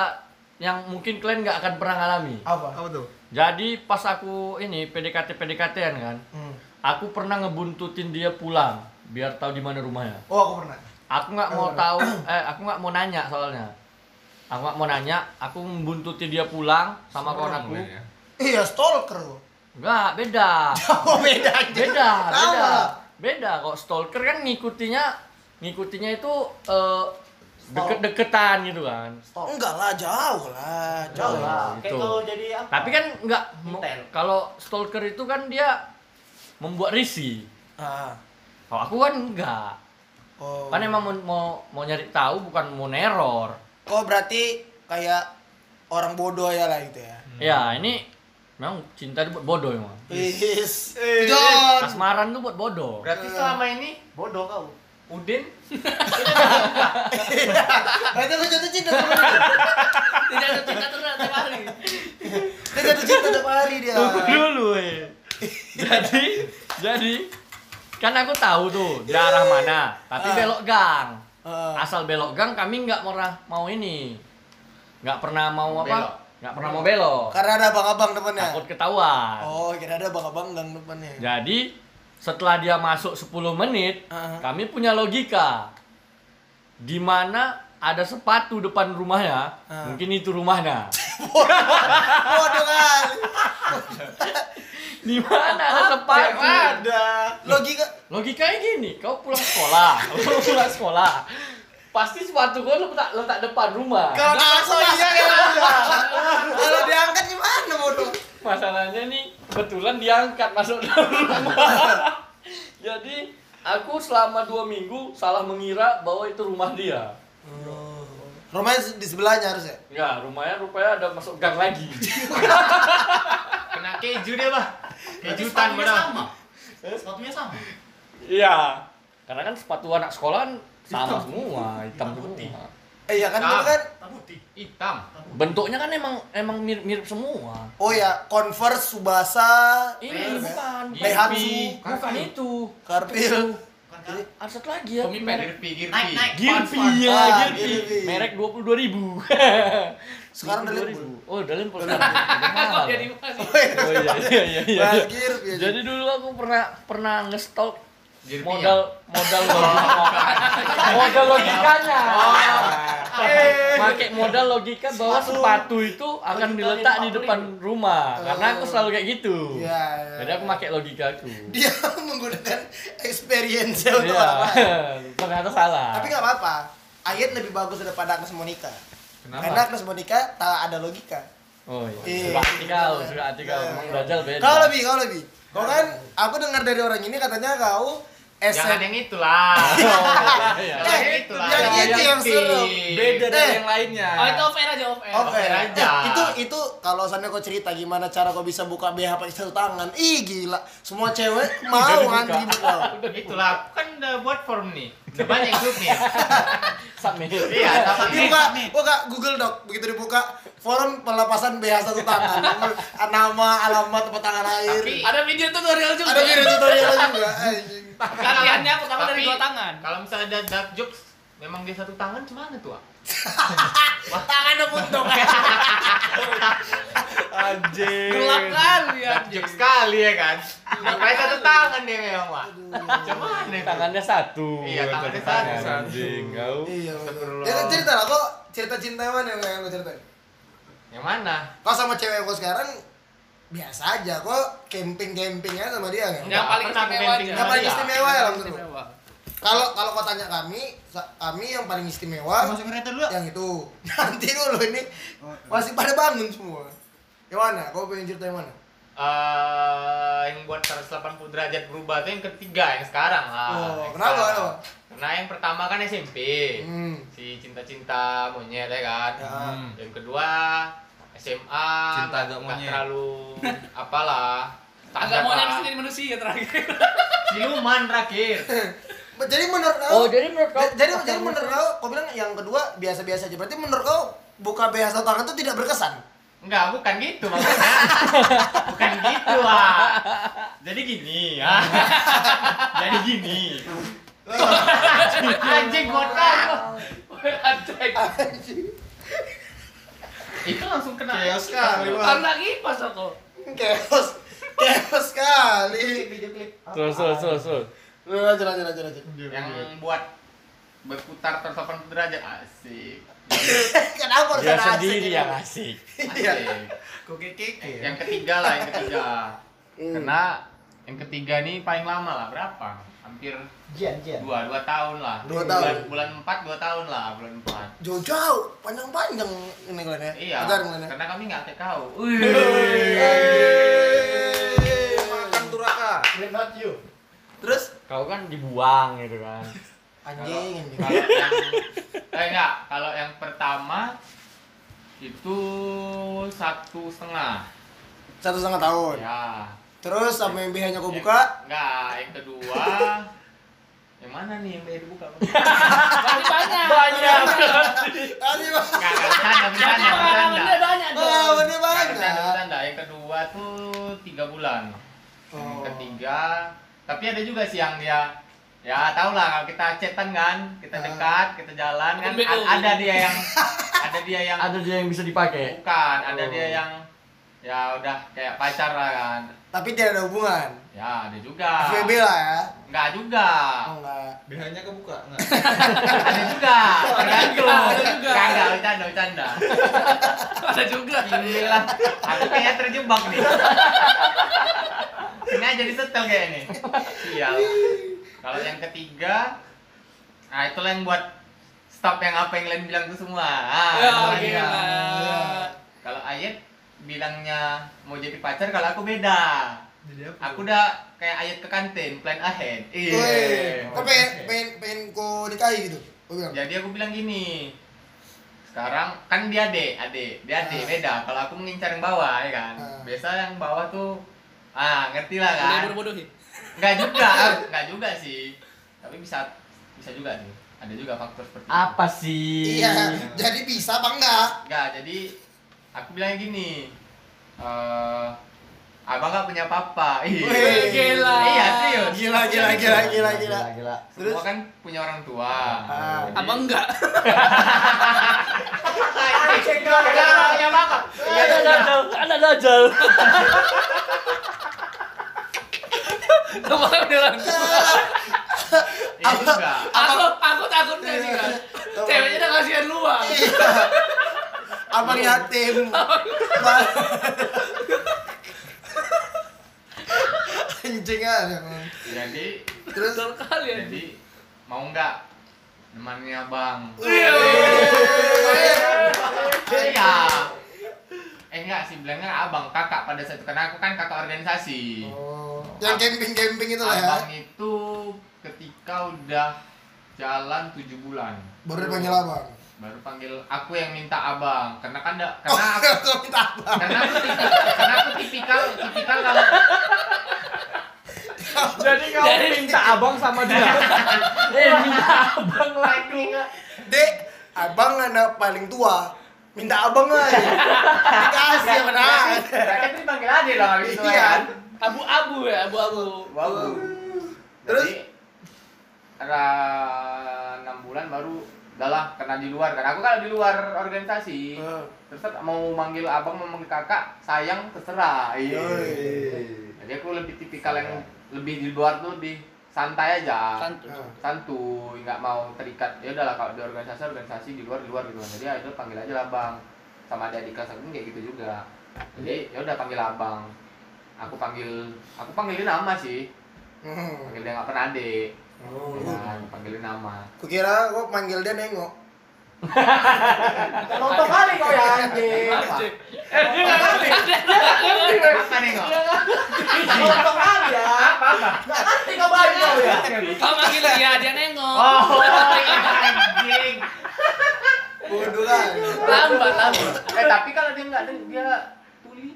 Speaker 7: yang mungkin kalian nggak akan pernah alami.
Speaker 3: Apa?
Speaker 4: Apa tuh?
Speaker 7: Jadi pas aku ini PDKT PDKT-an kan,
Speaker 3: Hmm.
Speaker 7: aku pernah ngebuntutin dia pulang biar tahu di mana rumahnya.
Speaker 3: Oh, aku pernah.
Speaker 7: Aku nggak mau tahu, eh aku nggak mau nanya soalnya. Aku nggak mau nanya, aku membuntuti dia pulang sama kawan aku.
Speaker 4: Mulai ya.
Speaker 3: Iya, stalker kok.
Speaker 7: Nggak, beda.
Speaker 3: Oh, beda aja.
Speaker 7: Beda, beda.
Speaker 3: Sama.
Speaker 7: Beda kok stalker kan ngikutinya ngikutinya itu eh, deket-deketan gitu kan.
Speaker 3: Oh, Enggak lah, jauh lah. Jauh
Speaker 8: Jauh lah.
Speaker 7: Gitu.
Speaker 8: Kayak kalau jadi apa?
Speaker 7: Tapi kan nggak mo-
Speaker 8: Detail.
Speaker 7: kalau stalker itu kan dia membuat risih.
Speaker 3: Ah.
Speaker 7: Kalau aku kan enggak.
Speaker 3: Oh.
Speaker 7: Kan emang mau, mau mau nyari tahu bukan mau neror.
Speaker 3: Kok berarti kayak orang bodoh ya lah gitu ya.
Speaker 7: Ya, ini memang cinta itu buat bodoh emang.
Speaker 3: Is.
Speaker 7: Asmaran tuh buat bodoh.
Speaker 6: Berarti
Speaker 9: Iya.
Speaker 6: selama ini
Speaker 8: bodoh kau.
Speaker 6: Udin
Speaker 3: Berarti lu jatuh cinta sama dia.
Speaker 9: Tidak ada cinta terus tiap hari.
Speaker 3: Dia jatuh cinta tiap hari dia.
Speaker 7: Tunggu dulu, eh. jadi, jadi kan aku tahu tuh di arah mana, tapi
Speaker 3: Ah.
Speaker 7: belok gang.
Speaker 3: Ah.
Speaker 7: Asal belok gang kami nggak pernah mau ini. nggak pernah mau apa?
Speaker 6: Belok.
Speaker 7: nggak pernah mau belok.
Speaker 3: Karena ada abang-abang depannya.
Speaker 7: Takut ketahuan.
Speaker 3: Oh, kira ada abang-abang gang depannya.
Speaker 7: Jadi setelah dia masuk 10 menit,
Speaker 3: Ah.
Speaker 7: kami punya logika. Di mana ada sepatu depan rumahnya,
Speaker 3: Ah.
Speaker 7: mungkin itu rumahnya.
Speaker 3: Bodoh kali.
Speaker 7: Di mana ada
Speaker 3: ya,
Speaker 7: sepatu?
Speaker 3: Ada. Logika
Speaker 7: Logikanya gini, kau pulang sekolah, kau pulang sekolah. Pasti sepatu kau letak letak depan rumah.
Speaker 3: kalau langsung iya kan ada. Kalau diangkat gimana bodoh?
Speaker 7: Masalahnya nih kebetulan diangkat masuk dalam rumah. Jadi aku selama dua minggu salah mengira bahwa itu rumah dia.
Speaker 3: Rumahnya di sebelahnya harusnya.
Speaker 7: Enggak, rumahnya rupanya ada masuk gang lagi.
Speaker 6: kena keju dia, Bah.
Speaker 8: Berarti
Speaker 6: Kejutan
Speaker 8: sepatunya
Speaker 6: benar.
Speaker 8: sama. Eh, Sepatunya sama.
Speaker 7: Iya. Karena kan sepatu anak sekolah kan sama semua, hitam semua.
Speaker 3: Eh, iya kan
Speaker 6: Nah.
Speaker 3: dulu kan.
Speaker 8: Hitam putih.
Speaker 6: Hitam.
Speaker 7: Bentuknya kan emang emang mirip, mirip semua.
Speaker 3: Oh ya, Converse, Subasa,
Speaker 7: Ini bukan.
Speaker 3: Daihatsu,
Speaker 7: Bukan itu.
Speaker 3: Karpil.
Speaker 8: Bukan Jadi,
Speaker 7: Ada satu lagi ya.
Speaker 9: Pemimpin.
Speaker 6: Girpi, girpi.
Speaker 9: Naik, naik.
Speaker 7: Gilpi
Speaker 9: Fun, fun.
Speaker 6: iya.
Speaker 7: ya,
Speaker 3: Ah, Gilpi.
Speaker 7: Gilpi. Merek 22.000 ribu.
Speaker 3: Sekarang udah lihat
Speaker 7: Oh, dalam pun.
Speaker 9: Kok
Speaker 7: Oh
Speaker 9: jadi masih?
Speaker 7: iya iya iya. iya.
Speaker 3: Parkir biasa.
Speaker 7: Jadi dulu aku pernah pernah ngestok
Speaker 6: Girpi
Speaker 7: modal modal logika. modal logikanya. Pakai modal logika bahwa iya, sepatu itu akan
Speaker 9: Logikanya
Speaker 7: diletak di
Speaker 9: dipakai.
Speaker 7: depan rumah. Karena aku selalu kayak gitu.
Speaker 3: Iya, iya.
Speaker 7: Jadi aku pakai logikaku.
Speaker 3: Dia menggunakan experience untuk
Speaker 7: Iya.
Speaker 3: orang lain.
Speaker 7: Ternyata salah.
Speaker 3: Tapi nggak apa-apa. Ayat lebih bagus daripada Agnes Monica.
Speaker 6: Kenapa?
Speaker 3: Karena Agnes Monica tak ada logika.
Speaker 7: Oh
Speaker 3: Iya.
Speaker 7: iya. Suka artikel, suka artikel. Emang Dajjal beda.
Speaker 3: Kau lebih, kau lebih. Kau kan, aku dengar dari orang ini katanya kau
Speaker 6: Jangan
Speaker 3: SM.
Speaker 6: yang itulah.
Speaker 7: iya.
Speaker 3: Eh,
Speaker 6: Jangan yang itulah.
Speaker 3: yang itu yang seru.
Speaker 4: Beda
Speaker 3: Eh.
Speaker 4: dari yang lainnya.
Speaker 9: Oh itu off air aja off air.
Speaker 3: Oke,
Speaker 6: Oke,
Speaker 3: Eh,
Speaker 6: aja.
Speaker 3: itu itu kalau sana kau cerita gimana cara kau bisa buka BH pakai satu tangan. Ih gila, semua cewek mau ngantri buka.
Speaker 6: Itulah, aku kan udah buat form nih. Udah banyak grup nih.
Speaker 9: Iya,
Speaker 7: Submit.
Speaker 6: Iya, tapi
Speaker 3: Dibuka, buka Google Doc. Begitu dibuka, forum pelepasan BH satu tangan. Nama, alamat, tempat tangan air.
Speaker 6: Tapi-
Speaker 9: Ada video tutorial juga.
Speaker 3: Ada video tutorial juga. anjing.
Speaker 9: Latihannya pertama dari
Speaker 6: Tapi,
Speaker 9: dua tangan.
Speaker 6: Kalau misalnya ada dark jokes, memang dia satu tangan cuman tuh ah.
Speaker 3: Tangan ada puntung.
Speaker 4: Anjir.
Speaker 9: Gelap kali ya.
Speaker 6: Dark jokes sekali ya kan.
Speaker 9: Iya.
Speaker 6: Makanya satu tangan dia memang wah. Cuman itu.
Speaker 7: Tangannya satu.
Speaker 6: Iya, tangannya
Speaker 7: Tangan.
Speaker 6: satu.
Speaker 7: Anjing, kau.
Speaker 3: Iya. betul. Ya kan cerita lah kok cerita cinta yang mana yang lo ceritain?
Speaker 6: Yang mana?
Speaker 3: Kau sama cewek kau sekarang biasa aja kok camping-camping aja sama dia kan?
Speaker 9: Yang paling
Speaker 6: Pernah
Speaker 9: istimewa aja.
Speaker 6: kepentingan.
Speaker 3: Yang paling
Speaker 6: Iya.
Speaker 3: istimewa ya langsung.
Speaker 9: Istimewa.
Speaker 3: Kalau kalau kau tanya kami, sa- kami yang Oh, paling istimewa
Speaker 4: Masuk kereta dulu.
Speaker 3: yang itu. Nanti dulu ini masih pada bangun semua. Yang mana? Kau pengen cerita yang mana?
Speaker 6: eh yang buat 180 derajat berubah tuh yang ketiga yang sekarang lah.
Speaker 3: Oh,
Speaker 6: Yang
Speaker 3: kenapa,
Speaker 6: sekarang.
Speaker 3: kenapa?
Speaker 6: Karena yang pertama kan SMP.
Speaker 3: Hmm.
Speaker 6: Si cinta-cinta monyet ya kan.
Speaker 3: Ya.
Speaker 6: Hmm. Yang kedua SMA
Speaker 4: Cinta agak
Speaker 6: nggak
Speaker 4: monyet.
Speaker 6: terlalu apalah.
Speaker 9: Agak
Speaker 6: Standar
Speaker 9: mau nyari
Speaker 6: lah.
Speaker 9: sendiri manusia terakhir.
Speaker 6: Siluman terakhir.
Speaker 3: Jadi menurut kau
Speaker 7: Oh, jadi menurut kau.
Speaker 3: Ja- jadi jadi menurut kau, kau bilang yang kedua biasa-biasa aja. Berarti menurut kau buka BH satu tangan itu tidak berkesan.
Speaker 6: Enggak, bukan gitu maksudnya. bukan gitu, ah. Jadi gini, ah. Jadi gini. Anjing botak.
Speaker 9: Anjay.
Speaker 6: Itu langsung kena.
Speaker 4: Chaos sekali, Wak.
Speaker 9: Karena kipas aku.
Speaker 3: Chaos, chaos sekali.
Speaker 7: Terus, terus, terus, terus.
Speaker 3: Lanjut lanjut lanjut lanjut.
Speaker 6: yang buat berputar 180 derajat asik.
Speaker 3: Kenapa harus ada
Speaker 7: Dia
Speaker 3: asik
Speaker 7: sendiri
Speaker 3: ini?
Speaker 7: yang asik.
Speaker 6: Iya.
Speaker 4: Kok keke.
Speaker 6: Yang ketiga lah, yang ketiga.
Speaker 3: Hmm.
Speaker 6: Karena yang ketiga nih paling lama lah, berapa? Hampir
Speaker 8: Jian, Jian.
Speaker 6: dua, dua tahun lah.
Speaker 3: Dua
Speaker 6: Bulan-
Speaker 3: tahun.
Speaker 6: Bulan empat, dua tahun lah, bulan empat.
Speaker 3: Jauh-jauh, panjang-panjang ini kalian ya.
Speaker 6: Iya,
Speaker 3: Agar kalian ya.
Speaker 6: karena kami nggak kayak kau.
Speaker 4: Yeay. Makan turaka.
Speaker 8: We're not you.
Speaker 3: Terus
Speaker 7: Kau kan dibuang gitu kan.
Speaker 3: anjing anjing.
Speaker 6: Kalau yang, eh enggak, kalau yang pertama itu satu setengah.
Speaker 3: Satu setengah tahun.
Speaker 6: Ya.
Speaker 3: Terus sama yang BH-nya
Speaker 6: Iya.
Speaker 3: kau buka,
Speaker 6: Yang- Enggak, yang kedua. yang mana nih yang baru buka?
Speaker 9: Berarti banyak.
Speaker 7: Banyak.
Speaker 3: tadi mah.
Speaker 6: Enggak, enggak, bercanda,
Speaker 9: Berarti
Speaker 6: bercanda,
Speaker 9: pengalaman
Speaker 6: bercanda.
Speaker 9: dia banyak
Speaker 3: Ah,
Speaker 9: dong.
Speaker 3: bener
Speaker 6: Enggak,
Speaker 3: banget.
Speaker 6: Bercanda, bercanda. Yang kedua tuh tiga bulan. Yang
Speaker 3: Oh.
Speaker 6: ketiga, tapi ada juga sih yang dia Ya tau lah kalau kita chatan kan,
Speaker 3: Ah.
Speaker 6: kita dekat, kita jalan kan,
Speaker 9: Bego.
Speaker 6: a- ada dia yang ada dia yang
Speaker 7: Ada dia yang bisa dipakai.
Speaker 6: bukan, ada
Speaker 3: Oh.
Speaker 6: dia yang ya udah kayak pacar lah kan.
Speaker 3: Tapi tidak ada hubungan.
Speaker 6: Ya ada juga.
Speaker 3: FBB lah ya.
Speaker 6: Enggak juga.
Speaker 3: Oh enggak.
Speaker 4: BH-nya kebuka enggak?
Speaker 6: Ada juga. Tergantung.
Speaker 9: Ada juga.
Speaker 6: Enggak, enggak, bercanda, bercanda.
Speaker 9: Ada juga.
Speaker 6: Inilah, aku kayaknya terjebak nih. Ini jadi setel kayak ini. Sial. Kalau yang ketiga, nah itulah yang buat stop yang apa yang lain bilang itu semua. Ah,
Speaker 9: Ya,
Speaker 6: itu
Speaker 9: gila.
Speaker 6: dia. Kalau Ayet bilangnya mau jadi pacar, kalau aku beda.
Speaker 4: Jadi apa?
Speaker 6: Aku udah kayak Ayet ke kantin, plan ahead. Iya.
Speaker 3: Weh, Kau pengen pengen pengen kau nikahi gitu. Kau bilang.
Speaker 6: Jadi aku bilang gini. Sekarang kan dia adik, adik. Dia
Speaker 3: Ah.
Speaker 6: adik beda. Kalau aku mengincar yang bawah ya kan.
Speaker 3: Ah.
Speaker 6: Biasa yang bawah tuh ah, ngerti
Speaker 7: Nah,
Speaker 6: lah
Speaker 9: Udah
Speaker 6: kan.
Speaker 9: bodoh-bodohin.
Speaker 6: Enggak juga, enggak juga sih. Tapi bisa bisa juga sih. Ada juga faktor seperti itu.
Speaker 7: Apa sih?
Speaker 3: Iya, jadi bisa apa enggak?
Speaker 6: Enggak, jadi aku bilang gini. Eh Abang nggak punya papa.
Speaker 3: Wih,
Speaker 6: Iya.
Speaker 9: gila.
Speaker 6: Iya serius.
Speaker 3: Gila gila gila gila gila.
Speaker 8: gila.
Speaker 3: Terus?
Speaker 6: Semua kan punya orang tua.
Speaker 3: Ah.
Speaker 6: Jadi- iya,
Speaker 9: Abang enggak?
Speaker 3: Iya.
Speaker 6: Punya papa.
Speaker 7: Ada dajal, ada dajal.
Speaker 9: Kemarin bilang.
Speaker 6: Iya juga.
Speaker 9: Aku aku takutnya nih kan. Ceweknya udah kasihan luang.
Speaker 3: Abang
Speaker 6: Iya.
Speaker 3: yatim. Ba- Anjing ah.
Speaker 6: Jadi
Speaker 3: Terus
Speaker 9: Betul kali ya.
Speaker 6: jadi mau nggak temannya abang? Iya. Eh enggak sih bilangnya abang kakak pada saat itu karena aku kan kakak organisasi.
Speaker 3: Oh. yang camping-camping itu lah ya.
Speaker 6: Abang itu ketika udah jalan 7 bulan
Speaker 3: Baru dipanggil abang.
Speaker 6: baru panggil aku yang minta abang karena kan da-
Speaker 3: Oh,
Speaker 6: karena aku,
Speaker 3: aku minta abang.
Speaker 6: karena aku tipikal karena aku tipikal tipikal kalau
Speaker 4: Jadi kau minta abang sama dia.
Speaker 7: Eh, minta abang lagi.
Speaker 3: Dek, abang anak paling tua. Minta abang aja. Dikasih ya benar.
Speaker 6: Berarti aku dipanggil ade dong habis itu
Speaker 3: Iya.
Speaker 6: kan
Speaker 9: Abu-abu ya, abu-abu.
Speaker 6: wow
Speaker 3: Terus?
Speaker 6: terus ada enam bulan baru udahlah karena di luar karena aku kan di luar organisasi terus mau manggil abang mau manggil kakak sayang terserah iya
Speaker 3: Iya.
Speaker 6: jadi aku lebih tipikal yang lebih di luar tuh di santai aja santuy nggak mau terikat ya udahlah kalau di organisasi organisasi di luar di luar gitu kan. jadi akhirnya panggil aja lah bang sama ada di kelas aku kayak gitu juga jadi ya udah panggil abang aku panggil aku panggilin nama sih
Speaker 3: Hmm.
Speaker 6: panggil dia nggak pernah adik
Speaker 3: Oh,
Speaker 6: ya kan, panggilin nama
Speaker 3: Kukira kok manggil dia nengok.
Speaker 4: Nonton kali kau ya anjing.
Speaker 9: Anjing.
Speaker 6: apa nih kok Iya.
Speaker 4: Nonton kali ya. Nggak
Speaker 9: kan
Speaker 4: ngerti kau baik kau ya.
Speaker 9: Kau manggil dia, dia nengok.
Speaker 6: oh anjing
Speaker 3: Bodoh kan.
Speaker 9: Lambat, lambat.
Speaker 6: eh tapi kalau dia nggak ada dia tuli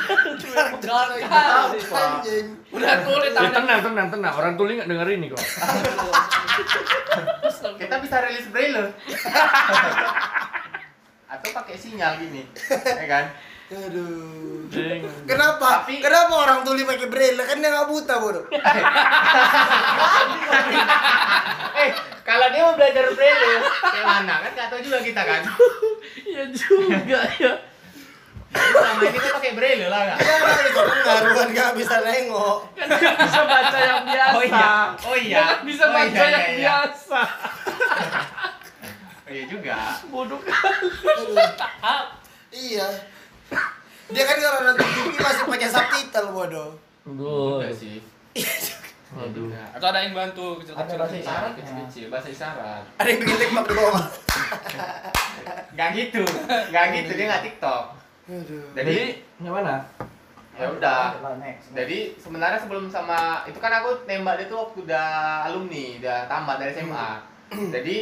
Speaker 9: Jordan.
Speaker 6: Iya.
Speaker 3: Anjing.
Speaker 9: Udah kulit tangan.
Speaker 7: tenang, tenang, tenang. Orang tuli nggak dengerin nih kok.
Speaker 6: kita bisa rilis braille atau pakai sinyal gini ya kan
Speaker 3: Aduh.
Speaker 7: Jing.
Speaker 3: Kenapa?
Speaker 6: Tapi-
Speaker 3: Kenapa orang tuli pakai braille? Kan dia nggak buta, bodoh.
Speaker 6: eh kalau dia mau belajar braille kayak mana kan nggak tahu juga kita kan
Speaker 9: Iya juga ya.
Speaker 6: sama ini kan pakai braille lah nggak
Speaker 3: Dia nggak bisa pengaruhan, kan nggak bisa nengok.
Speaker 9: Kan dia bisa baca yang biasa.
Speaker 6: oh iya oh iya
Speaker 9: Dia kan bisa
Speaker 6: Oh, iya,
Speaker 9: baca
Speaker 6: iya,
Speaker 9: yang
Speaker 6: iya.
Speaker 9: biasa.
Speaker 6: oh iya juga
Speaker 9: Bodoh kali.
Speaker 3: Aduh.
Speaker 9: Tahap.
Speaker 3: Iya. Dia kan kalau nonton TV masih pakai subtitle, bodoh.
Speaker 7: Aduh.
Speaker 6: Enggak sih Iya juga.
Speaker 9: Atau ada yang bantu
Speaker 4: Ada bahasa
Speaker 9: kecil-kecil.
Speaker 4: isyarat
Speaker 6: kecil-kecil bahasa isyarat
Speaker 3: Ada yang bikin tekmak di bawah.
Speaker 6: nggak gitu nggak gitu dia nggak tiktok
Speaker 3: Aduh.
Speaker 6: jadi
Speaker 4: Gimana?
Speaker 6: ya udah
Speaker 8: next.
Speaker 6: Jadi sebenarnya sebelum sama itu kan aku nembak dia tuh waktu udah alumni, udah tamat dari SMA. Jadi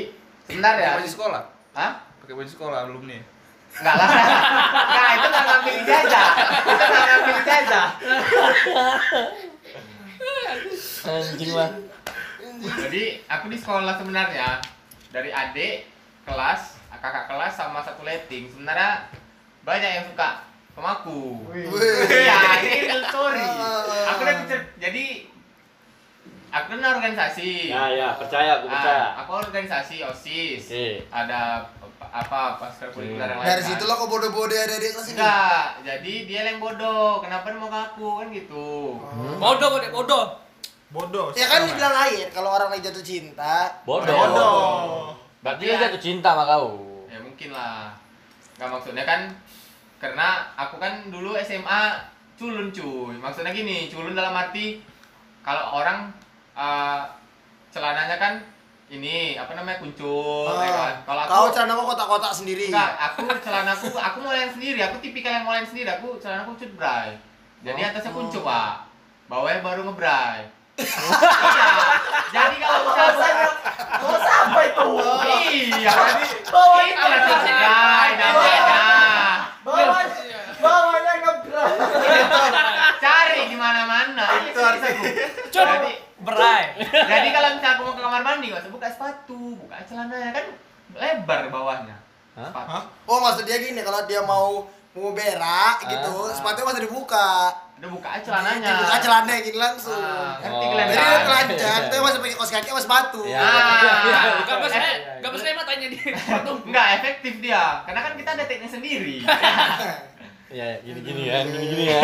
Speaker 6: sebenarnya
Speaker 4: Masih sekolah.
Speaker 6: Hah?
Speaker 4: Pakai baju sekolah belum nih.
Speaker 6: Enggak lah. Enggak, itu enggak ngambil ijazah. Itu enggak ngambil ijazah.
Speaker 7: Anjing lah.
Speaker 6: Jadi aku di sekolah sebenarnya dari adik kelas, kakak kelas sama satu letting. Sebenarnya banyak yang suka sama aku.
Speaker 3: Wih.
Speaker 6: Iya, ini real story. Aku udah kecer- jadi aku kan organisasi.
Speaker 7: Ya, ya, percaya, aku
Speaker 6: Ah,
Speaker 7: percaya.
Speaker 6: aku organisasi OSIS.
Speaker 7: Oke.
Speaker 6: Ada apa- apa ekstrakurikuler yang lain.
Speaker 3: Dari
Speaker 6: kan?
Speaker 3: situ lah kok bodoh-bodoh ada di kelas ini.
Speaker 6: Enggak, jadi dia yang bodoh. Kenapa dia mau ngaku kan gitu.
Speaker 3: Oh.
Speaker 9: Bodoh kok dia bodoh.
Speaker 4: Bodoh.
Speaker 3: Ya kan dibilang air kalau orang lagi jatuh cinta.
Speaker 7: Bodoh. Berarti dia jatuh cinta sama kau.
Speaker 6: Ya mungkin lah. Enggak maksudnya kan karena aku kan dulu SMA culun cuy. Maksudnya gini, culun dalam arti kalau orang eh, celananya kan ini apa namanya kuncup ya kan.
Speaker 3: Ah,
Speaker 6: Kalau aku
Speaker 3: Kau celana kau kotak-kotak sendiri.
Speaker 6: Enggak, aku celanaku aku mau yang sendiri, aku tipikal yang mau yang sendiri, aku celanaku cut bray. Jadi
Speaker 4: Oh.
Speaker 6: atasnya kuncup, Pak. Bawahnya baru ngebray. Iya. Jadi kalau misalnya
Speaker 4: Apa itu?
Speaker 6: iya, jadi bawah itu guys, namanya.
Speaker 4: Bawanya, bawanya ngebrak.
Speaker 6: Cari di mana-mana. Itu harus aku. Jadi
Speaker 9: Berai.
Speaker 6: jadi kalau misalnya aku mau ke kamar mandi, nggak usah buka sepatu, buka celananya kan lebar bawahnya.
Speaker 7: Hah?
Speaker 6: Sepatu.
Speaker 3: Oh maksud dia gini kalau dia mau mau berak gitu,
Speaker 7: Ah.
Speaker 3: sepatunya masih dibuka.
Speaker 6: Udah buka aja celananya.
Speaker 3: Dibuka celananya gini langsung.
Speaker 6: Ah, Ngerti
Speaker 7: Oh.
Speaker 6: kalian
Speaker 3: Jadi dia
Speaker 6: kan?
Speaker 3: iya, telanjang, tapi masih pakai kaos kaki sama sepatu.
Speaker 7: Iya.
Speaker 6: Ah,
Speaker 9: Gak masalah, gak masalah emang tanya dia. Patung.
Speaker 6: Enggak efektif dia. Karena kan kita ada teknik sendiri.
Speaker 7: Iya, iya, gini-gini ya, gini-gini ya.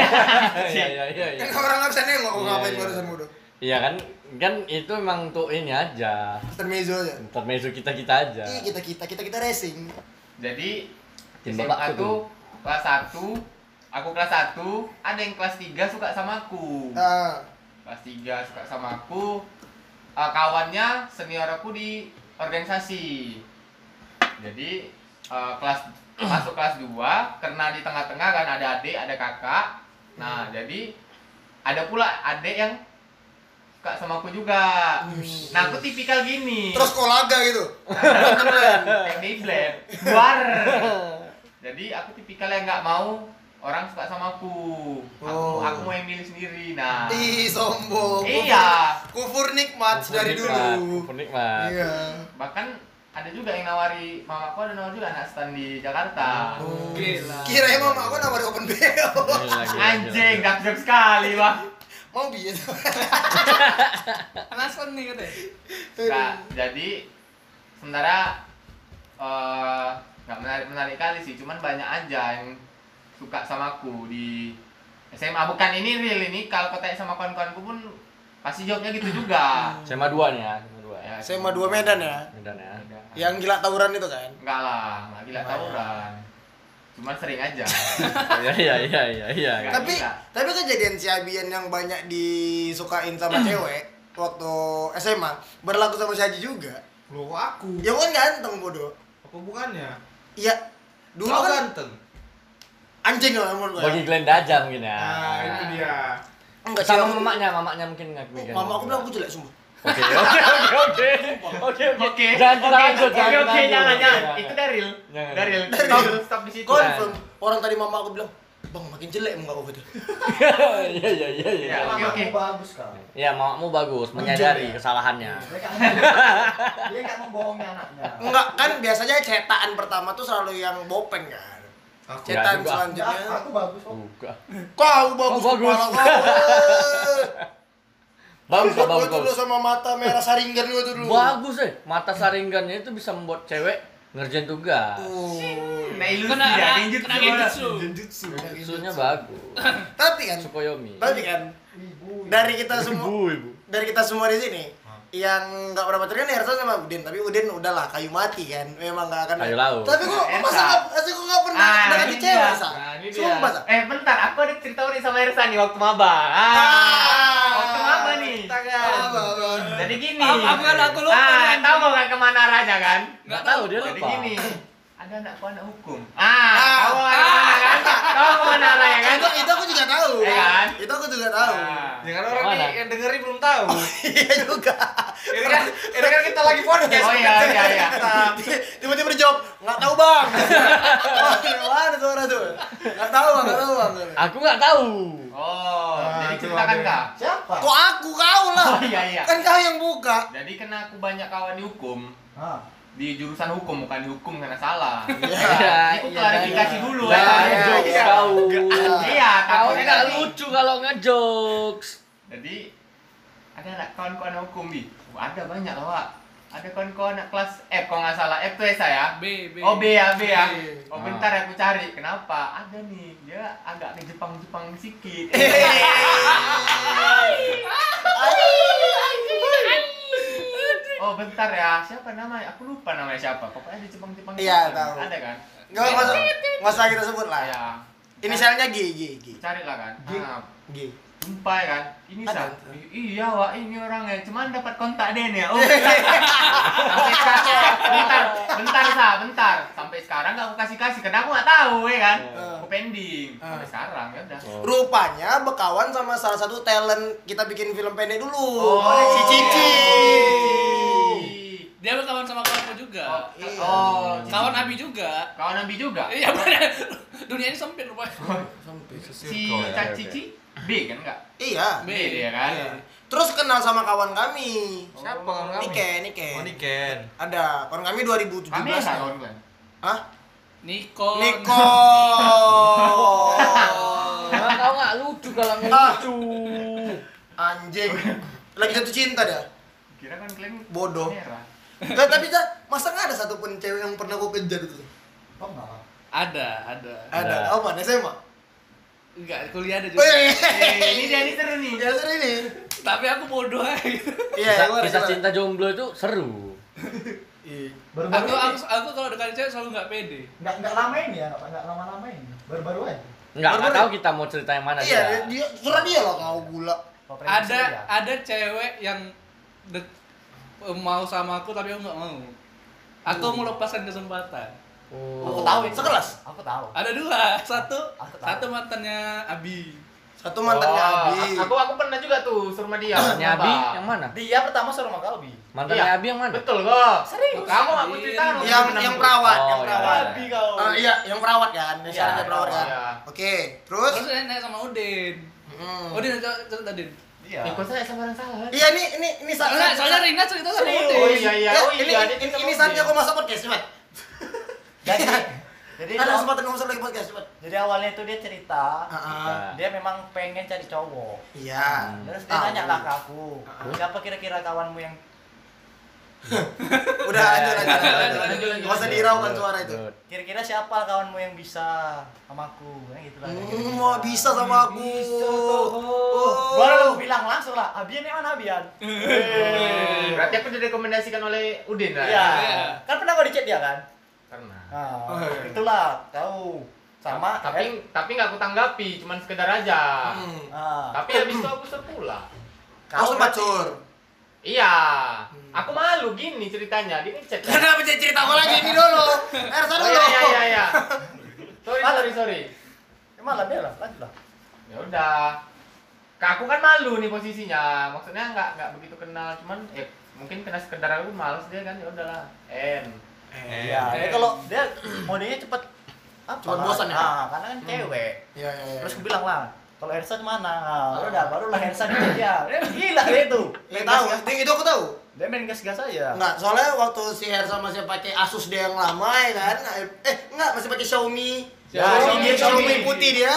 Speaker 7: Iya, iya, iya, iya.
Speaker 3: Kan kalau orang nggak bisa nengok
Speaker 7: Iya,
Speaker 3: ngapain
Speaker 7: iya.
Speaker 3: barusan bodoh.
Speaker 7: Iya kan, kan itu emang untuk ini aja.
Speaker 3: Intermezzo aja.
Speaker 7: Intermezzo kita-kita aja.
Speaker 3: Ih, kita kita kita kita racing.
Speaker 6: Jadi
Speaker 7: Tim
Speaker 6: SMA
Speaker 7: babakku tuh.
Speaker 6: tuh kelas 1, aku kelas 1, ada yang kelas 3 suka sama aku.
Speaker 3: Nah,
Speaker 6: Kelas 3 suka sama aku. Eh, kawannya senior aku di organisasi. Jadi eh, kelas masuk kelas 2 karena di tengah-tengah kan ada adik, ada kakak.
Speaker 3: Hmm.
Speaker 6: Nah, jadi ada pula adik yang suka sama aku juga. Nah, aku tipikal gini.
Speaker 3: terus kolaga gitu.
Speaker 6: Beyblade, buar. Jadi aku tipikal yang nggak mau orang suka sama aku. Aku,
Speaker 3: Oh.
Speaker 6: aku mau yang milih sendiri. Nah,
Speaker 3: Ih, sombong.
Speaker 6: iya.
Speaker 3: Kufur nikmat dari dulu.
Speaker 7: Penikmat.
Speaker 3: Iya.
Speaker 6: Bahkan ada juga yang nawari mamaku ada nawar juga anak stand di Jakarta.
Speaker 3: Oh.
Speaker 9: Gila.
Speaker 3: Kirain mama aku nawarin open BO.
Speaker 7: Iya,
Speaker 6: Anjing, dark joke sekali bang.
Speaker 3: Mau biasa.
Speaker 9: Penasaran nih katanya.
Speaker 6: Nah, jadi sementara eh, nggak menarik menarik kali sih, cuman banyak aja yang suka sama aku di SMA. Bukan ini real ini, kalau kau tanya sama kawan-kawanku pun pasti jawabnya gitu juga.
Speaker 7: SMA 2 nih ya, SMA 2 ya.
Speaker 6: Ya,
Speaker 3: SMA 2 Medan ya.
Speaker 7: Medan ya.
Speaker 6: Ya.
Speaker 3: Yang gila tawuran itu kan.
Speaker 6: Enggak lah, nggak gila tawuran. Cuman sering aja.
Speaker 7: Iya iya iya iya iya.
Speaker 6: Nggak
Speaker 3: tapi
Speaker 6: gila.
Speaker 3: tapi kejadian si Abian yang banyak disukain sama cewek waktu SMA berlaku sama si Haji juga.
Speaker 4: Lu aku.
Speaker 3: Ya kan ganteng bodoh.
Speaker 4: Apa bukannya?
Speaker 3: Iya. Dulu
Speaker 4: Kau
Speaker 3: kan
Speaker 4: ganteng.
Speaker 3: anjing lah menurut
Speaker 7: Bagi
Speaker 3: gue.
Speaker 7: Glenn aja mungkin ya.
Speaker 5: Ah,
Speaker 4: Nah, itu
Speaker 5: Iya.
Speaker 4: dia.
Speaker 3: Enggak
Speaker 7: Sama
Speaker 3: sih,
Speaker 7: mamanya, mamanya mungkin ngakui
Speaker 3: aku-
Speaker 7: kan.
Speaker 3: Mama aku bilang aku jelek semua.
Speaker 7: Oke oke oke oke. Oke
Speaker 6: Oke,
Speaker 7: Jangan kita
Speaker 6: oke,
Speaker 7: lanjut,
Speaker 6: oke,
Speaker 7: jangan kita
Speaker 6: oke, jangan,
Speaker 7: lanjut. Iya,
Speaker 6: jangan.
Speaker 7: Jangan.
Speaker 6: Itu dari real,
Speaker 7: Jangan.
Speaker 6: dari real.
Speaker 3: Dari
Speaker 6: Stop,
Speaker 3: real.
Speaker 6: stop di
Speaker 7: Iya.
Speaker 6: situ.
Speaker 3: Confirm. Orang tadi mama aku bilang, "Bang, makin jelek muka aku gitu."
Speaker 7: Iya iya iya iya.
Speaker 6: Ya, oke,
Speaker 8: Mamamu
Speaker 6: oke.
Speaker 8: bagus kan.
Speaker 7: Iya, mamamu bagus, menyadari
Speaker 3: ya.
Speaker 7: kesalahannya.
Speaker 8: Dia kan dia kan membohongi anaknya.
Speaker 3: Enggak, kan biasanya cetakan pertama tuh selalu yang bopeng kan.
Speaker 4: Aku.
Speaker 3: Cetakan
Speaker 7: juga.
Speaker 8: Ya,
Speaker 3: selanjutnya.
Speaker 8: aku bagus kok.
Speaker 7: Buka.
Speaker 3: Kau bagus
Speaker 7: Kau bagus.
Speaker 3: kepala kau. eh.
Speaker 7: Bagus,
Speaker 3: Gua
Speaker 7: bagus,
Speaker 3: tuh dulu
Speaker 7: bagus.
Speaker 3: sama mata merah saringan gua tuh dulu.
Speaker 7: Bagus eh, mata saringannya itu bisa membuat cewek ngerjain tugas.
Speaker 3: Oh.
Speaker 6: Nah, ilusi
Speaker 9: Kena
Speaker 6: ya,
Speaker 9: kena-
Speaker 6: ninjutsu.
Speaker 9: kena genjutsu.
Speaker 4: Genjutsu.
Speaker 7: Susunya bagus.
Speaker 3: Tapi kan,
Speaker 7: Tsukuyomi.
Speaker 3: tapi kan
Speaker 8: Ibu.
Speaker 3: dari kita semua
Speaker 7: ibu.
Speaker 3: dari kita semua di sini
Speaker 6: Hmm.
Speaker 3: yang nggak pernah pacaran ya Ersa sama Udin tapi Udin udahlah kayu mati kan memang nggak akan
Speaker 7: Kayu laut.
Speaker 3: tapi kok
Speaker 6: Ersa.
Speaker 3: masa nggak- masa kok nggak pernah
Speaker 6: Ah,
Speaker 3: dengan
Speaker 6: ini
Speaker 3: cewek
Speaker 6: dia.
Speaker 3: sa
Speaker 6: Nah, ini dia.
Speaker 3: sumpah sa
Speaker 6: Eh, bentar, aku ada cerita unik sama Ersan nih waktu maba. Ah, waktu maba nih.
Speaker 3: Ah,
Speaker 6: Jadi gini.
Speaker 9: Aku aku kan aku lupa.
Speaker 6: Ah,
Speaker 9: nih.
Speaker 6: tahu nggak kan kemana arahnya kan?
Speaker 7: Nggak tahu, dia
Speaker 6: Jadi
Speaker 7: lupa.
Speaker 6: gini. Ada anak anak hukum. Ah,
Speaker 3: Ah.
Speaker 6: tahu nggak kemana kan? Tahu kemana arahnya kan?
Speaker 3: itu itu aku juga tahu
Speaker 6: Ya kan?
Speaker 3: itu aku juga tahu
Speaker 6: Ah.
Speaker 4: Ya kan orang
Speaker 7: Mana?
Speaker 4: nih yang dengerin belum tahu.
Speaker 3: iya juga
Speaker 4: Ini kan, ini kan kita lagi podcast.
Speaker 6: Oh iya, iya, iya.
Speaker 3: Ah. tiba-tiba dijawab nggak tahu bang Wah, mana suara tuh nggak tahu bang nggak tahu bang
Speaker 6: Ah.
Speaker 7: Aku nggak tahu.
Speaker 6: Oh,
Speaker 4: Ah,
Speaker 6: jadi
Speaker 4: itu
Speaker 6: ceritakan
Speaker 4: ada.
Speaker 6: kak.
Speaker 8: Siapa?
Speaker 3: kok aku kau lah
Speaker 6: Oh iya iya.
Speaker 3: kan kau yang buka
Speaker 6: Jadi kena aku banyak kawan di hukum
Speaker 8: Ah.
Speaker 6: di jurusan hukum bukan di hukum karena salah.
Speaker 7: Iya, iya,
Speaker 6: Itu klarifikasi
Speaker 7: iya.
Speaker 6: dulu
Speaker 7: Jangan
Speaker 6: ya.
Speaker 3: iya,
Speaker 7: ngejokes
Speaker 3: iya.
Speaker 7: kau.
Speaker 6: Iya,
Speaker 7: Kau
Speaker 6: takutnya
Speaker 7: nggak
Speaker 6: nanti-
Speaker 7: lucu kalau ngejokes.
Speaker 6: Jadi ada anak kawan-kawan hukum bi. Oh, ada banyak lah Wak. Ada kawan-kawan anak kelas F kalau nggak salah F tuh S ya.
Speaker 9: B B.
Speaker 6: Oh B ya B ya.
Speaker 3: B.
Speaker 7: Ah.
Speaker 6: Oh bentar aku cari. Kenapa? Ada nih dia agak ke Jepang-Jepang sedikit. oh bentar ya siapa namanya? Aku lupa namanya siapa. Pokoknya ada Jepang-Jepang.
Speaker 3: Iya,
Speaker 6: Jepang.
Speaker 3: tahu. Ah.
Speaker 6: Ada kan?
Speaker 3: Gak usah, nggak usah kita sebut lah.
Speaker 6: Ya.
Speaker 3: Inisialnya G, G, G,
Speaker 6: cari lah kan.
Speaker 3: Gi-
Speaker 6: Ah,
Speaker 3: G.
Speaker 6: jumpa ya kan ini
Speaker 3: Ada.
Speaker 6: sa I- iya wak ini orangnya cuman dapat kontak Den ya oh sampai sekarang bentar bentar sa bentar sampai sekarang nggak aku kasih kasih karena aku nggak tahu ya kan
Speaker 3: Eh.
Speaker 6: aku pending sampai
Speaker 3: Eh.
Speaker 6: sekarang ya udah
Speaker 3: Rupanya bekawan sama salah satu talent kita bikin film pendek dulu.
Speaker 6: Oh.
Speaker 3: si Cici.
Speaker 9: Dia berkawan sama kawanku juga.
Speaker 6: oh, oh
Speaker 9: Kawan Abi juga.
Speaker 6: kawan Nabi juga
Speaker 9: Iya benar. Dunia ini sempit rupanya.
Speaker 6: si
Speaker 7: ya,
Speaker 6: Caci
Speaker 7: oke.
Speaker 6: Cici B kan enggak
Speaker 3: Iya.
Speaker 9: B.
Speaker 6: B dia kan
Speaker 3: Iya. Terus kenal sama kawan kami.
Speaker 4: Siapa kawan kami?
Speaker 3: Nike, Nike.
Speaker 4: Oh, Niken.
Speaker 3: Ada Oh. kawan kami
Speaker 6: kami ya
Speaker 3: 2017.
Speaker 6: nggak kawan kalian
Speaker 3: Hah?
Speaker 9: Niko.
Speaker 3: Niko.
Speaker 6: Nah, tau nggak lucu kalau
Speaker 3: Ah.
Speaker 6: lucu.
Speaker 3: Anjing. Lagi jatuh cinta dah.
Speaker 6: Kira kan kalian
Speaker 3: Bodoh.
Speaker 6: merah.
Speaker 3: Nah, tapi Cak, masa nggak ada satupun cewek yang pernah kau kejar itu?
Speaker 8: Kok enggak?
Speaker 9: Ada, ada.
Speaker 3: Ada.
Speaker 7: Nah.
Speaker 3: Oh, mana SMA?
Speaker 9: Enggak, kuliah ada juga.
Speaker 3: Wih,
Speaker 6: Eh, ini dia ini seru nih.
Speaker 3: Ya seru ini.
Speaker 9: Tapi aku bodoh aja. gitu.
Speaker 3: Iya,
Speaker 7: Kisah,
Speaker 3: gimana,
Speaker 7: kisah
Speaker 3: gimana?
Speaker 7: cinta jomblo itu seru.
Speaker 3: Iya.
Speaker 8: Baru-baru
Speaker 9: Aku
Speaker 8: ini.
Speaker 9: aku aku kalau dekat cewek selalu nggak pede.
Speaker 8: Enggak enggak lama ini ya, enggak enggak lama-lama ini. Baru-baru aja.
Speaker 7: Enggak,
Speaker 3: Baru-baru-
Speaker 7: enggak tahu kita mau cerita yang mana
Speaker 3: Iya,
Speaker 7: dia.
Speaker 3: dia surat dia loh kau gula.
Speaker 8: Kok prediksi
Speaker 6: ya.
Speaker 9: Ada
Speaker 8: dia?
Speaker 9: ada cewek yang de- mau sama aku tapi aku nggak mau. Aku melepaskan kesempatan.
Speaker 8: Aku
Speaker 7: Oh.
Speaker 3: Oh,
Speaker 8: tahu itu.
Speaker 3: Sekelas.
Speaker 8: Aku tahu.
Speaker 9: Ada dua, satu
Speaker 8: Aku tahu.
Speaker 9: satu mantannya Abi.
Speaker 3: Satu mantannya
Speaker 6: Oh,
Speaker 3: Abi.
Speaker 6: Aku aku pernah juga tuh suruh sama dia.
Speaker 7: Mantannya
Speaker 6: Kenapa?
Speaker 7: Abi yang mana?
Speaker 3: Iya.
Speaker 8: Dia pertama suruh sama Kalbi.
Speaker 7: Mantannya
Speaker 6: Iya.
Speaker 7: Abi yang mana?
Speaker 6: Betul kok.
Speaker 8: Serius?
Speaker 6: Kamu aku cerita
Speaker 9: Yang-
Speaker 6: kamu
Speaker 3: yang
Speaker 6: pernah
Speaker 3: yang
Speaker 6: tuh.
Speaker 3: perawat, yang
Speaker 7: Oh, iya.
Speaker 3: perawat.
Speaker 8: Kalbi kau.
Speaker 3: Ah, iya, yang perawat kan, yang
Speaker 8: Iya,
Speaker 3: sekarang dia perawat kan.
Speaker 6: iya.
Speaker 3: Oke, terus
Speaker 9: Terus Oh, saya naik sama Udin.
Speaker 3: Hmm.
Speaker 9: Udin cerita cerita Udin.
Speaker 8: Iya.
Speaker 6: Ya, kok saya sama orang salah.
Speaker 3: Iya, ini ini ini
Speaker 9: Soalnya, soalnya Rina cerita sama Udin.
Speaker 6: Oh iya iya,
Speaker 3: Eh,
Speaker 6: oh
Speaker 3: ini,
Speaker 6: iya,
Speaker 3: ini,
Speaker 6: dia cerita
Speaker 3: ini
Speaker 6: sama
Speaker 3: saatnya
Speaker 6: dia.
Speaker 3: kau masuk podcast, Mat. Iya.
Speaker 8: Jadi jadi
Speaker 3: Ada kesempatan kau masuk lagi podcast, Mat. Ah,
Speaker 8: jadi awalnya itu dia cerita,
Speaker 3: Heeh.
Speaker 8: dia memang pengen cari cowok.
Speaker 3: Iya.
Speaker 8: Terus dia
Speaker 3: Tahu.
Speaker 8: nanya lah ke aku,
Speaker 3: Ah.
Speaker 8: siapa kira-kira kawanmu yang
Speaker 3: Iya. Udah lanjut lanjut,
Speaker 6: Lanjut,
Speaker 3: lanjut.
Speaker 6: lanjut,
Speaker 3: lanjut.
Speaker 6: lanjut.
Speaker 3: Enggak usah dihiraukan suara itu.
Speaker 7: Good.
Speaker 8: kira-kira siapa kawanmu yang bisa sama aku? Nah, gitu lah.
Speaker 3: Hmm, mau bisa sama aku. Oh.
Speaker 8: Baru aku bilang langsung lah, Abian yang mana Abian? Iya.
Speaker 6: Berarti aku direkomendasikan oleh Udin lah.
Speaker 8: Iya. Kan pernah kau di chat dia kan?
Speaker 6: Pernah.
Speaker 8: Nah,
Speaker 3: Oh, iya.
Speaker 8: itulah tahu sama
Speaker 6: tapi tapi nggak aku tanggapi, cuman sekedar aja.
Speaker 3: Hmm.
Speaker 8: Nah,
Speaker 6: Tapi habis itu aku suruh pulang.
Speaker 3: Kau sempat
Speaker 8: berarti-
Speaker 3: sur.
Speaker 6: Iya. Aku malu gini ceritanya, dia ngecek. kan?
Speaker 3: Kenapa jadi cerita aku lagi ini dulu? Ersa
Speaker 6: Oh
Speaker 3: dulu.
Speaker 6: iya iya iya. Sorry sorry sorry.
Speaker 8: Emang lah biar lah, lanjut lah.
Speaker 6: Ya udah. Kak aku kan malu nih posisinya. Maksudnya nggak nggak begitu kenal, cuman ya mungkin kena sekedar aku males dia kan ya udahlah. En.
Speaker 9: Eh.
Speaker 8: Iya, dia kalau dia modelnya cepet apa?
Speaker 3: Cepet
Speaker 8: lah.
Speaker 3: Eh. bosan ya?
Speaker 8: Nah, karena kan cewek.
Speaker 3: Iya iya. iya.
Speaker 8: Terus gue bilang lah, kalau Ersan mana? Nah, udah, barulah Ersan itu dia. Dia Gila dia itu.
Speaker 3: Iya Ah. tahu,
Speaker 8: ya?
Speaker 3: Ding, itu aku tahu.
Speaker 8: Dia main gas-gas aja.
Speaker 3: Enggak, soalnya waktu si Ersa masih pakai Asus dia yang lama ya kan. Eh, enggak, masih pakai Xiaomi.
Speaker 8: Ya,
Speaker 3: Ya, Xiaomi,
Speaker 8: Xiaomi,
Speaker 3: dia Xiaomi
Speaker 8: Xiaomi.
Speaker 3: putih dia.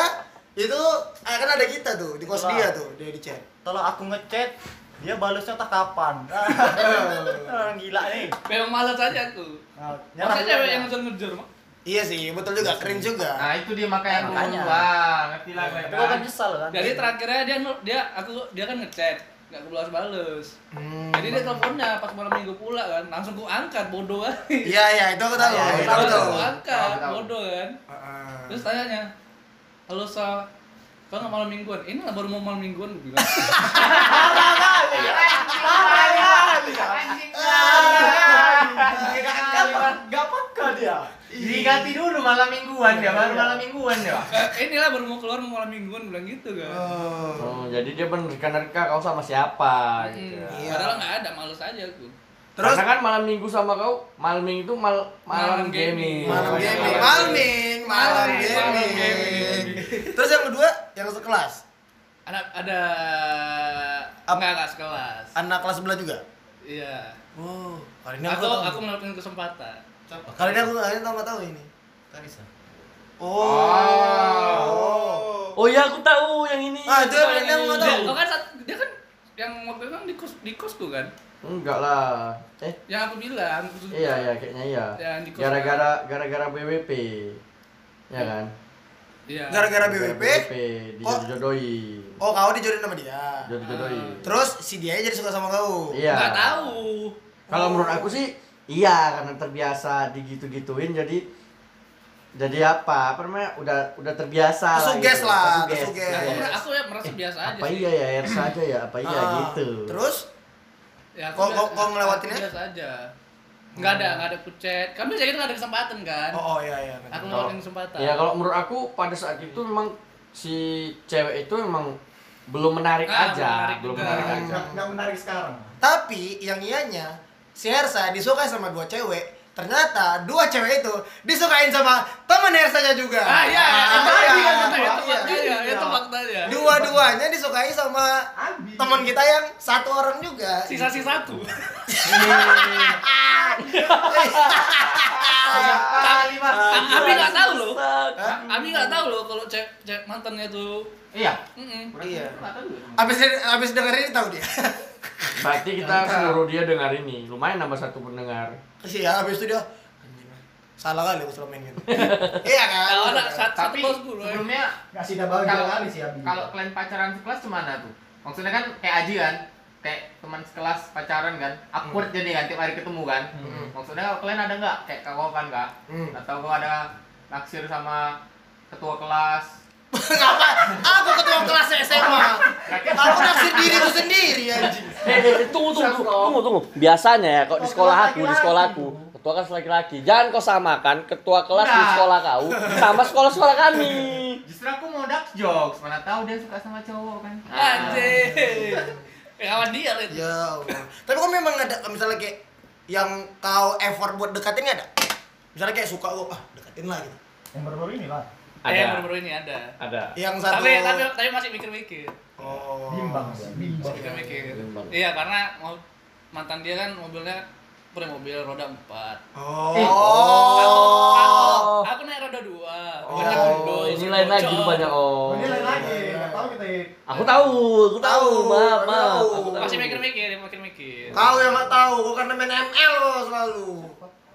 Speaker 3: Itu eh, kan ada kita tuh di kos
Speaker 8: Wah.
Speaker 3: dia tuh, dia di chat.
Speaker 8: Setelah aku ngechat, dia balasnya tak kapan.
Speaker 3: Hmm.
Speaker 8: Orang gila nih.
Speaker 9: Memang malas aja aku.
Speaker 8: Nah,
Speaker 9: Masa
Speaker 8: nyerang
Speaker 9: cewek
Speaker 8: dia.
Speaker 9: yang ngejar-ngejar mah?
Speaker 3: Iya sih, betul juga, keren juga.
Speaker 6: Nah, itu dia makanya aku
Speaker 8: Makanya.
Speaker 6: Wah, ngerti lah
Speaker 8: Tapi gua kan
Speaker 6: kan.
Speaker 8: nyesel kan.
Speaker 9: Jadi terakhirnya dia nu- dia aku dia kan ngechat, nggak aku balas balas.
Speaker 3: Hmm.
Speaker 9: Jadi dia teleponnya pas malam minggu pula kan, langsung ku angkat bodoh kan.
Speaker 3: Iya, iya, itu aku tahu.
Speaker 8: Iya,
Speaker 3: Aku
Speaker 8: iya,
Speaker 3: tahu
Speaker 9: Langsung
Speaker 3: tuh.
Speaker 9: ku angkat
Speaker 6: Tahu, tahu.
Speaker 9: bodoh kan.
Speaker 3: Heeh.
Speaker 9: Terus tanyanya, halo sa, kau nggak malam mingguan? Ini lah baru mau malam mingguan aku bilang.
Speaker 8: Gak peka dia.
Speaker 6: kan Iya. Diganti dulu malam mingguan ya, baru malam mingguan ya.
Speaker 9: Ini lah "Eh, baru mau keluar mau malam mingguan bilang gitu kan.
Speaker 7: Oh, jadi dia menerka-nerka kau sama siapa gitu.
Speaker 9: Hmm,
Speaker 3: Iya.
Speaker 9: Padahal nggak ada, malas aja aku.
Speaker 3: Terus
Speaker 7: Karena kan malam minggu sama kau, malam minggu itu mal, malam,
Speaker 9: Malam
Speaker 7: gaming.
Speaker 9: gaming.
Speaker 3: malam
Speaker 6: Iya,
Speaker 3: gaming,
Speaker 6: iya.
Speaker 3: malming, malam
Speaker 9: Malming, malam
Speaker 3: gaming.
Speaker 9: gaming.
Speaker 3: Terus yang kedua, yang sekelas.
Speaker 9: Ada ada
Speaker 3: Apa?
Speaker 9: nggak nggak sekelas.
Speaker 3: Anak kelas sebelah juga.
Speaker 9: Iya.
Speaker 3: Oh, kali ini aku
Speaker 9: Aku
Speaker 3: tahu.
Speaker 9: aku melakukan kesempatan.
Speaker 3: Kali ini aku kali ini tambah tahu ini.
Speaker 8: Tarisa.
Speaker 3: Oh.
Speaker 7: Oh iya aku tahu yang ini.
Speaker 3: Ah, itu
Speaker 7: Aku tahu
Speaker 3: yang
Speaker 7: ini.
Speaker 3: mau
Speaker 9: Dia,
Speaker 3: tahu.
Speaker 9: kau kan saat- dia kan yang waktu itu kan di kos di kosku kan.
Speaker 7: Enggak lah. Eh,
Speaker 9: Yang aku bilang.
Speaker 7: iya ya kayaknya iya.
Speaker 9: Yang di kos-
Speaker 7: Gara-gara gara-gara BWP. Ya kan?
Speaker 9: Iya.
Speaker 3: Gara-gara BWP.
Speaker 7: BWP
Speaker 3: Oh.
Speaker 7: dijodohin.
Speaker 3: Oh, kau dijodohin sama dia.
Speaker 7: Jodoh-jodohin.
Speaker 3: Terus si dia jadi suka sama kau.
Speaker 7: Iya.
Speaker 9: Nggak tahu.
Speaker 7: Kalau menurut aku sih iya karena terbiasa digitu-gituin jadi jadi apa? Apa namanya? Udah udah terbiasa gitu.
Speaker 3: Tersuges lah,
Speaker 7: Tersuges.
Speaker 3: tersuges.
Speaker 9: Nah, aku,
Speaker 7: Tersuges.
Speaker 9: mer- aku ya merasa biasa
Speaker 7: Iya,
Speaker 9: aja
Speaker 7: Apa
Speaker 9: sih.
Speaker 7: iya ya Ersa
Speaker 6: Hmm.
Speaker 7: aja ya? Apa iya
Speaker 3: Ah,
Speaker 7: gitu?
Speaker 3: Terus
Speaker 9: Ya,
Speaker 3: Kau-
Speaker 9: aku biasa-
Speaker 3: kau- kau
Speaker 9: aku
Speaker 3: ngelewatinnya?
Speaker 9: Biasa aja. Nggak ada, nggak ada kucet. Kami saya nggak ada kesempatan kan.
Speaker 3: Oh, oh iya iya.
Speaker 9: Aku
Speaker 3: ngerti.
Speaker 9: ngelewatin kesempatan.
Speaker 7: Ya kalau menurut aku pada saat itu memang si cewek itu memang belum menarik
Speaker 9: Ah,
Speaker 7: aja,
Speaker 9: menarik
Speaker 7: belum
Speaker 9: juga.
Speaker 7: menarik aja.
Speaker 8: Nggak nggak menarik sekarang.
Speaker 3: Tapi yang ianya si Hersa disukai sama dua cewek. Ternyata dua cewek itu disukain sama teman Manersanya juga.
Speaker 9: Ah iya,
Speaker 3: Ah,
Speaker 9: itu
Speaker 3: iya.
Speaker 9: tadi kan kata, itu
Speaker 3: Iya.
Speaker 9: faktanya, itu faktanya.
Speaker 3: Dua-duanya disukai sama
Speaker 4: Abi.
Speaker 3: teman kita yang satu orang juga.
Speaker 9: Sisa-sisa satu.
Speaker 4: Ah,
Speaker 6: kali mas
Speaker 9: Abi nggak tahu loh. Abi nggak tahu loh kalau cek cek mantannya tuh.
Speaker 6: iya
Speaker 9: Mm-mm.
Speaker 6: berarti
Speaker 3: Iya.
Speaker 6: nggak tahu ya.
Speaker 3: Abis abis denger ini tahu dia.
Speaker 6: berarti kita suruh dia dengar ini lumayan nambah satu pendengar
Speaker 3: Iya, abis itu dia "Anjing, salah kali aku selama ini. Iya kan?
Speaker 9: Kalau ada satu satu
Speaker 6: tapi
Speaker 9: bosku loh. ya.
Speaker 6: sebelumnya
Speaker 4: Nggak sih dah bawa
Speaker 6: Kalau-
Speaker 4: jalan kali sih Abi.
Speaker 6: kalau kalian pacaran sekelas gimana tuh maksudnya kan kayak aji kan kayak teman sekelas pacaran kan
Speaker 8: Hmm.
Speaker 6: awkward jadi kan tiap hari ketemu kan
Speaker 3: Hmm.
Speaker 6: maksudnya kalau kalian ada nggak kayak kawan nggak
Speaker 3: Hmm.
Speaker 6: atau kau ada naksir sama ketua kelas
Speaker 3: Ngapa? Aku ketua kelas SMA. Aku naksir diriku sendiri anjing.
Speaker 7: Eh, tunggu, tunggu, tunggu, tunggu. Biasanya ya, kok di sekolah aku, di sekolah aku, ketua kelas laki-laki. Jangan kau samakan ketua kelas di
Speaker 6: Nah.
Speaker 7: sekolah kau sama sekolah-sekolah kami.
Speaker 6: justru aku mau dark jokes mana tahu dia suka sama cowok kan
Speaker 9: Anjir. Ya, Kawan dia lah itu.
Speaker 3: Ya Allah. Tapi kok memang ada misalnya kayak yang kau effort buat deketin nggak ada? Misalnya kayak suka kok, ah deketin lah gitu.
Speaker 4: Yang baru-baru ini lah.
Speaker 9: Eh, yang baru-baru ini ada.
Speaker 7: ada.
Speaker 3: Yang satu.
Speaker 9: Tapi tapi tapi masih mikir-mikir.
Speaker 3: Oh.
Speaker 4: Bimbang sih. Bimbang.
Speaker 9: Kita Iya, mikir.
Speaker 7: Bimbang.
Speaker 9: Iya karena mau mantan dia kan mobilnya punya mobil roda empat.
Speaker 3: Oh.
Speaker 6: Eh,
Speaker 3: oh.
Speaker 9: Aku, aku naik roda dua. Banyak gundul,
Speaker 7: Oh, ini lain lagi
Speaker 9: bocor.
Speaker 7: rupanya, oh.
Speaker 4: Ini
Speaker 8: iya,
Speaker 4: lain lagi. Nggak tahu kita. ya.
Speaker 7: Aku tahu, aku tahu,
Speaker 3: Tahu,
Speaker 7: maaf, maaf.
Speaker 3: tahu.
Speaker 7: Aku tahu.
Speaker 9: Masih mikir-mikir, mikir-mikir.
Speaker 3: Kau yang nggak tahu, kau karena main ML lo selalu.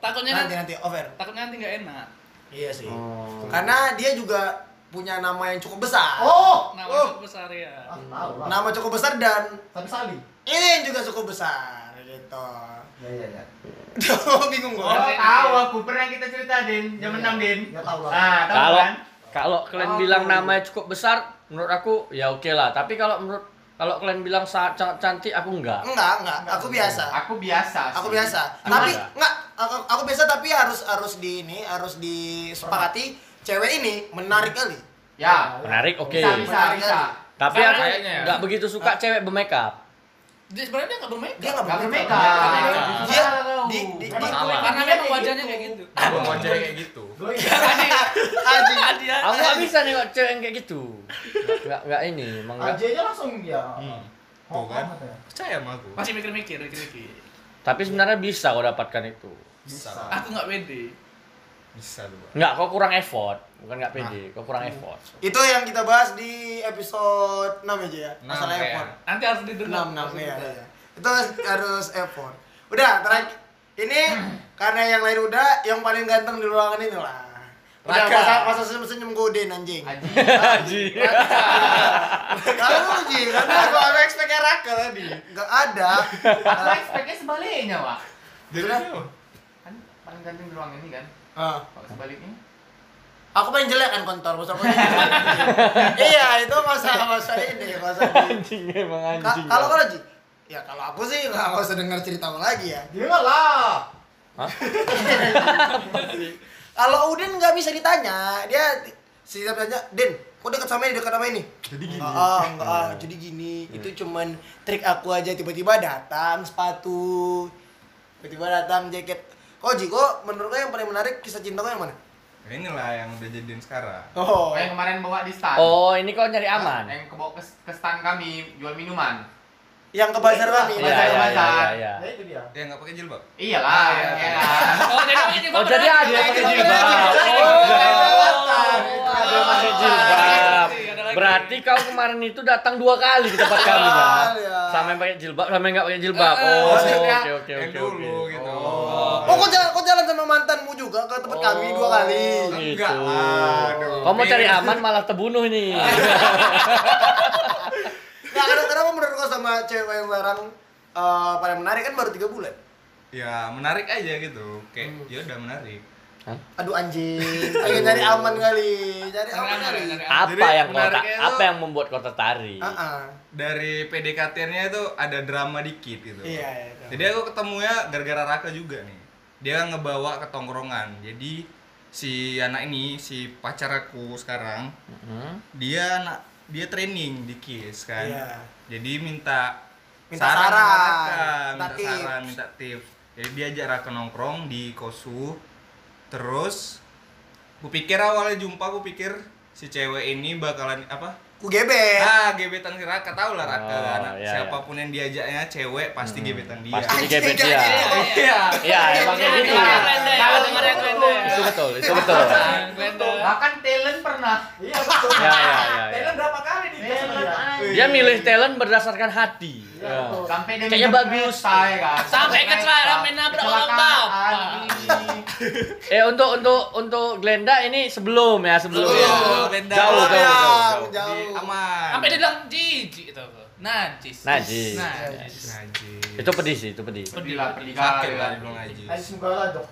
Speaker 9: Takutnya
Speaker 3: Nanti nanti
Speaker 9: nanti,
Speaker 3: over.
Speaker 9: takutnya nanti nggak enak.
Speaker 3: Iya sih.
Speaker 7: Oh.
Speaker 3: Karena dia juga punya nama yang cukup besar.
Speaker 4: Oh.
Speaker 9: Nah,
Speaker 3: Oh.
Speaker 9: masuk besar ya.
Speaker 4: Ah, tahu lah.
Speaker 3: Nama cukup besar dan
Speaker 4: Tapi Sali.
Speaker 3: ini yang juga cukup besar gitu.
Speaker 4: Ya ya ya.
Speaker 3: Bingung
Speaker 6: Oh,
Speaker 3: gua.
Speaker 9: Ngerti,
Speaker 6: tahu
Speaker 9: ngerti.
Speaker 6: aku pernah kita cerita Din, jam menang Din.
Speaker 4: Ya, tahu lah.
Speaker 6: Nah, tahu
Speaker 7: Kalau
Speaker 6: kan?
Speaker 7: kalau kalian bilang namanya cukup besar, menurut aku ya oke lah. Tapi kalau menurut kalau kalian bilang sangat sangat cantik, aku
Speaker 9: Oh.
Speaker 7: enggak.
Speaker 3: Enggak, enggak. Aku biasa.
Speaker 6: Aku biasa. sih.
Speaker 3: aku biasa
Speaker 7: Cuman-
Speaker 3: tapi nggak aku, aku biasa tapi harus harus di ini harus disepakati cewek ini menarik kali
Speaker 6: Ya.
Speaker 7: Menarik, oke.
Speaker 6: Bisa, bisa, bisa.
Speaker 7: Tapi aku
Speaker 9: Karena-
Speaker 7: enggak begitu suka cewek bermakeup.
Speaker 9: Dia sebenarnya dia nggak bermain.
Speaker 3: dia nggak
Speaker 6: Gak
Speaker 3: bermakeup.
Speaker 6: bermakeup.
Speaker 9: bermakeup.
Speaker 3: dia
Speaker 6: Salah kau.
Speaker 3: di di, di
Speaker 7: Salah.
Speaker 9: Karena memang wajahnya kayak gitu.
Speaker 5: mau cewek kayak gitu
Speaker 3: anjing.
Speaker 7: Aku nggak bisa nengok cewek yang kayak gitu. Enggak enggak ini, emang nggak.
Speaker 4: Aja aja langsung dia.
Speaker 8: Hmm.
Speaker 5: Tuh
Speaker 4: Hot
Speaker 5: kan.
Speaker 4: banget ya.
Speaker 5: percaya sama aku
Speaker 9: Masih mikir-mikir, mikir-mikir.
Speaker 7: Tapi sebenarnya bisa kau dapatkan itu.
Speaker 5: bisa
Speaker 9: Aku nggak pede.
Speaker 5: bisa lu Bang.
Speaker 7: Enggak, kau kurang effort. Bukan enggak pede, kau kurang effort.
Speaker 3: itu yang kita bahas di episode 6 aja ya
Speaker 5: Enam,
Speaker 3: masalah
Speaker 5: ya.
Speaker 3: effort
Speaker 9: Nanti harus
Speaker 3: 6
Speaker 9: didengar.
Speaker 3: 6 ya, ya. itu harus effort udah terakhir ini karena yang lain udah yang paling ganteng di ruangan ini lah udah
Speaker 7: Raka.
Speaker 3: masa masa senyum senyum goden anjing
Speaker 6: Aji.
Speaker 3: kalau uji karena aku aku expect raka tadi nggak ada
Speaker 6: Aku expect-nya sebaliknya, Wak.
Speaker 5: Jadi
Speaker 3: Sudah.
Speaker 5: lu,
Speaker 6: Kan paling ganteng di ruang ini kan.
Speaker 3: Ah.
Speaker 6: Kalau sebaliknya.
Speaker 3: Aku paling jelek kan kontol, masa aku Iya, itu masa masa ini, masa ini.
Speaker 7: Anjing emang
Speaker 3: Ka-
Speaker 7: anjing.
Speaker 3: Kalau kalau Ji? ya kalau aku sih nggak nggak usah dengar ceritamu lagi ya.
Speaker 4: Dia lah.
Speaker 3: Kalau Udin nggak bisa ditanya, dia setiap tanya, Din, kok dekat sama ini, dekat sama ini?
Speaker 5: jadi gini
Speaker 3: Enggak, ah, enggak, ah, jadi gini. Itu cuman trik aku aja tiba-tiba datang sepatu. Tiba-tiba datang jaket. Kok Ji, kok menurut kau yang paling menarik kisah cinta kau yang mana?
Speaker 5: Nah, inilah yang udah jadiin sekarang
Speaker 3: Oh,
Speaker 6: Oh, yang kemarin bawa di stand.
Speaker 7: Oh, ini kau nyari aman.
Speaker 6: Yang kebawa ke, ke stand kami jual minuman.
Speaker 3: yang ke bazar kami.
Speaker 7: Iya,
Speaker 6: Bazar,
Speaker 7: iya, iya,
Speaker 6: bazar.
Speaker 7: iya.
Speaker 4: Ya itu dia.
Speaker 5: yang nggak pakai jilbab
Speaker 6: Iyalah,
Speaker 9: iya.
Speaker 6: ya kan.
Speaker 9: Oh, jadi ini
Speaker 7: Oh, jadi ada yang pakai jilbab. Oh, iya.
Speaker 3: Oh,
Speaker 7: Ada yang pakai jilbab. Berarti kau kemarin itu datang dua kali ke tempat kami ya.
Speaker 3: Iya.
Speaker 7: Sama yang pakai jilbab, sama yang nggak pakai jilbab.
Speaker 9: Eh,
Speaker 7: Oh,
Speaker 9: eh,
Speaker 7: oke
Speaker 6: maksudnya
Speaker 7: oke
Speaker 5: yang
Speaker 7: oke
Speaker 5: dulu
Speaker 7: oke.
Speaker 5: gitu
Speaker 3: Oh, kok jalan, kok jalan sama mantanmu juga ke tempat kami dua kali.
Speaker 7: Oh, gitu.
Speaker 5: Enggak lah, aduh.
Speaker 7: Kau mau cari aman malah terbunuh nih.
Speaker 3: Nah, karena kenapa menurut kau sama cewek yang sekarang eh, paling menarik kan baru tiga bulan?
Speaker 5: ya menarik aja gitu kayak ya udah menarik
Speaker 3: Aduh anjing, ayo nyari aman kali, nyari aman kali.
Speaker 7: Apa
Speaker 5: Jadi,
Speaker 7: yang kau tak,
Speaker 5: menariknya itu-
Speaker 7: apa yang membuat kau tertarik?
Speaker 3: Ah, ah.
Speaker 5: dari PDKT-nya itu ada drama dikit gitu
Speaker 3: Iya, iya.
Speaker 5: Jadi aku ketemunya gara-gara Raka juga nih. Dia ngebawa ke tongkrongan. Jadi si anak ini, si pacar aku sekarang,
Speaker 7: Hmm?
Speaker 5: dia anak dia training di KIS kan.
Speaker 3: Iya.
Speaker 5: Jadi minta
Speaker 3: Minta
Speaker 5: sama
Speaker 3: saran,
Speaker 5: Raka,
Speaker 3: minta
Speaker 5: minta
Speaker 3: tips.
Speaker 5: saran, minta tips. Jadi dia ajak Raka nongkrong di Kosu. Terus Gue pikir awalnya jumpa, gue pikir si cewek ini bakalan apa?
Speaker 3: Ku gebet.
Speaker 5: Ah, gebetan si Raka tau lah Raka.
Speaker 7: Oh,
Speaker 5: anak-
Speaker 7: iya, Hmm,
Speaker 5: siapapun yang diajaknya cewek pasti gebetan dia.
Speaker 7: Pasti
Speaker 3: Anjing,
Speaker 7: gebet
Speaker 3: gak
Speaker 7: dia.
Speaker 3: gitu.
Speaker 5: Iya.
Speaker 7: Iya, emang kayak gitu.
Speaker 4: Kalau dengerin pendek.
Speaker 7: Itu betul, itu betul.
Speaker 6: Bahkan kan talent pernah.
Speaker 8: Iya betul.
Speaker 7: Ya, ya, ya, ya.
Speaker 8: Thailand berapa kali di
Speaker 6: Talent anjing.
Speaker 7: Dia milih talent berdasarkan hati.
Speaker 8: Iya
Speaker 7: Ya.
Speaker 8: betul.
Speaker 6: Sampai dia
Speaker 7: Kayaknya
Speaker 6: minjem
Speaker 7: bagus.
Speaker 6: kereta, ya kan?
Speaker 4: Sampai
Speaker 6: Minjem
Speaker 4: kecelakaan,
Speaker 6: kereta.
Speaker 4: main nabrak orang
Speaker 6: Kecelakaan, anjing.
Speaker 7: Eh untuk untuk untuk Glenda ini sebelum ya sebelum.
Speaker 3: Sebelum,
Speaker 7: ya.
Speaker 5: Glenda.
Speaker 7: Jauh jauh jauh.
Speaker 3: Jauh,
Speaker 7: jauh.
Speaker 5: Jadi
Speaker 3: jauh.
Speaker 5: aman.
Speaker 9: Sampai dia bilang jijik tau gua. Najis.
Speaker 7: Najis.
Speaker 9: Najis.
Speaker 5: Najis.
Speaker 7: Itu pedih sih, itu pedih.
Speaker 6: Pedih lah, pedih
Speaker 5: Sakit
Speaker 6: kali
Speaker 5: lah
Speaker 6: ya? lah.
Speaker 5: dibilang najis.
Speaker 8: Ayo semoga lah dok.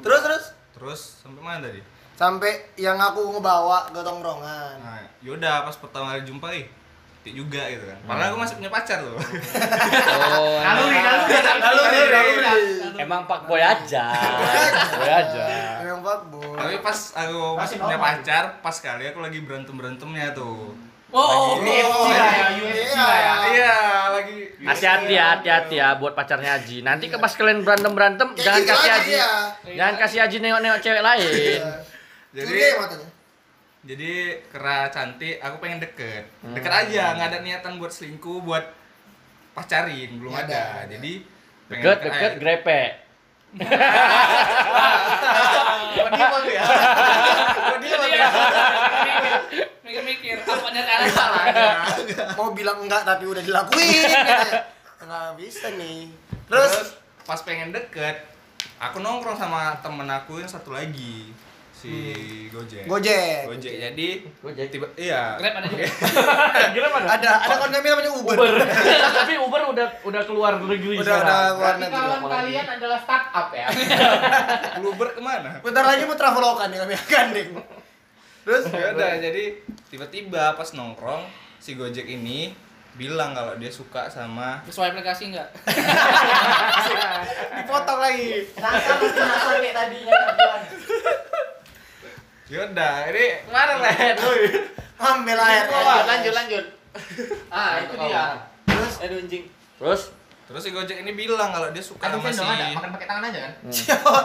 Speaker 3: Terus terus
Speaker 5: Terus sampai mana tadi?
Speaker 3: sampai yang aku ngebawa ke
Speaker 7: Ah.
Speaker 3: tongkrongan.
Speaker 5: Nah, yaudah pas pertama kali jumpa ih cantik juga gitu kan. Padahal aku masih punya pacar loh.
Speaker 7: Oh.
Speaker 3: ya.
Speaker 6: Naluri, naluri, naluri, naluri.
Speaker 7: Emang Pak Boy aja. Boy aja.
Speaker 3: Yang fuckboy.
Speaker 5: Tapi pas aku masih
Speaker 8: Masih
Speaker 5: punya
Speaker 8: normal.
Speaker 5: pacar, pas kali aku lagi berantem berantemnya tuh.
Speaker 9: Oh,
Speaker 5: Lagi-
Speaker 3: Oh,
Speaker 6: lah ya,
Speaker 3: iya.
Speaker 6: UFC lah ya.
Speaker 5: Iya, lagi
Speaker 7: Hati-hati ya, hati-hati ya buat pacarnya Aji. Nanti ke pas kalian berantem-berantem
Speaker 3: Kayak
Speaker 7: jangan
Speaker 3: gitu
Speaker 7: kasih
Speaker 3: aja
Speaker 7: Aji.
Speaker 3: dia.
Speaker 7: Jangan kasih Aji nengok-nengok cewek lain.
Speaker 5: Jadi
Speaker 3: Curiga ya matanya.
Speaker 5: jadi kera cantik, aku pengen deket.
Speaker 3: Hmm.
Speaker 5: Deket aja, nggak ada niatan buat selingkuh, buat pacarin, belum
Speaker 3: Nggak ada,
Speaker 5: ada.
Speaker 3: nggak
Speaker 5: Jadi pengen
Speaker 7: Deket-deket
Speaker 5: aja.
Speaker 7: grepek.
Speaker 5: Kok dia malu ya? Kok dia malu ya?
Speaker 9: mikir-mikir. Apa nyari alasan?
Speaker 5: Salah ya.
Speaker 3: Mau bilang enggak tapi udah dilakuin. katanya. Enggak bisa nih. Terus
Speaker 5: Terus pas pengen deket, aku nongkrong sama temen aku yang satu lagi si Gojek.
Speaker 3: Hmm. Gojek.
Speaker 5: Gojek. Jadi
Speaker 7: Gojek.
Speaker 5: tiba iya.
Speaker 9: Grab ada juga.
Speaker 3: Ada ada konten namanya Uber.
Speaker 7: Uber. Tapi Uber udah udah keluar
Speaker 3: Udah
Speaker 7: negeri
Speaker 3: udah
Speaker 7: sekarang.
Speaker 3: keluar
Speaker 6: Berarti
Speaker 3: negeri.
Speaker 6: kawan kalian adalah startup ya.
Speaker 5: Uber kemana?
Speaker 3: Bentar lagi mau travelokan ya kami akan deh. Terus
Speaker 5: Ya udah jadi tiba-tiba pas nongkrong si Gojek ini bilang kalau dia suka sama
Speaker 9: Sesuai aplikasi enggak?
Speaker 3: dipotong lagi.
Speaker 8: Rasa masih nasar kayak tadinya tujuan.
Speaker 5: Yaudah, ini kemana Ren? Woi.
Speaker 3: Ambil air.
Speaker 6: lanjut, lanjut. Ah, itu dia. Terus aduh anjing.
Speaker 7: Terus
Speaker 5: Terus si Gojek ini bilang kalau dia suka
Speaker 6: Aduh,
Speaker 5: sama si
Speaker 6: sendok ada, makan pakai tangan aja kan?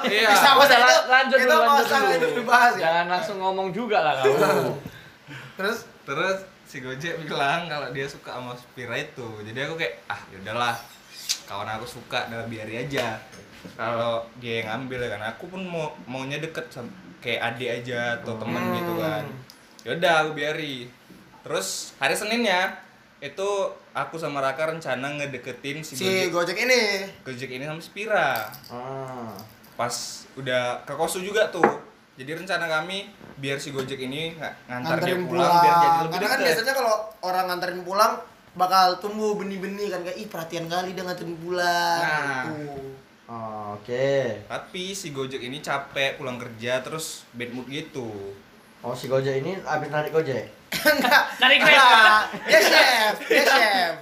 Speaker 5: Iya.
Speaker 3: Bisa masalah itu.
Speaker 7: Nah, lanjut
Speaker 3: itu
Speaker 7: dulu lanjut
Speaker 3: masalah itu
Speaker 7: dulu.
Speaker 3: dibahas ya.
Speaker 7: Jangan langsung ngomong juga lah kamu.
Speaker 3: Terus
Speaker 5: Terus si Gojek bilang kalau dia suka sama Spira itu. Jadi aku kayak ah yaudahlah kawan aku suka udah biari aja. Kalau dia yang ngambil ya kan aku pun mau maunya deket sama kayak adik aja atau teman gitu kan. Yaudah aku biari. Terus hari Seninnya itu aku sama Raka rencana ngedeketin si,
Speaker 3: si
Speaker 5: Gojek,
Speaker 3: Gojek ini
Speaker 5: Gojek ini sama Spira.
Speaker 3: Ah.
Speaker 5: Pas udah ke Kosu juga tuh. Jadi rencana kami biar si Gojek ini nga- ngantar dia
Speaker 3: nganterin
Speaker 5: pulang,
Speaker 3: pulang.
Speaker 5: biar jadi lebih
Speaker 3: Karena kan
Speaker 5: deket.
Speaker 3: biasanya kalau orang nganterin pulang bakal tumbuh benih-benih kan kayak ih perhatian kali dia nganterin pulang.
Speaker 5: Nah.
Speaker 3: Gitu.
Speaker 7: Oke.
Speaker 5: Tapi si Gojek ini capek pulang kerja terus bad mood gitu.
Speaker 7: Oh si Gojek ini abis narik Gojek.
Speaker 3: Enggak.
Speaker 4: Dari kereta.
Speaker 3: Enggak. Dia chef, dia chef.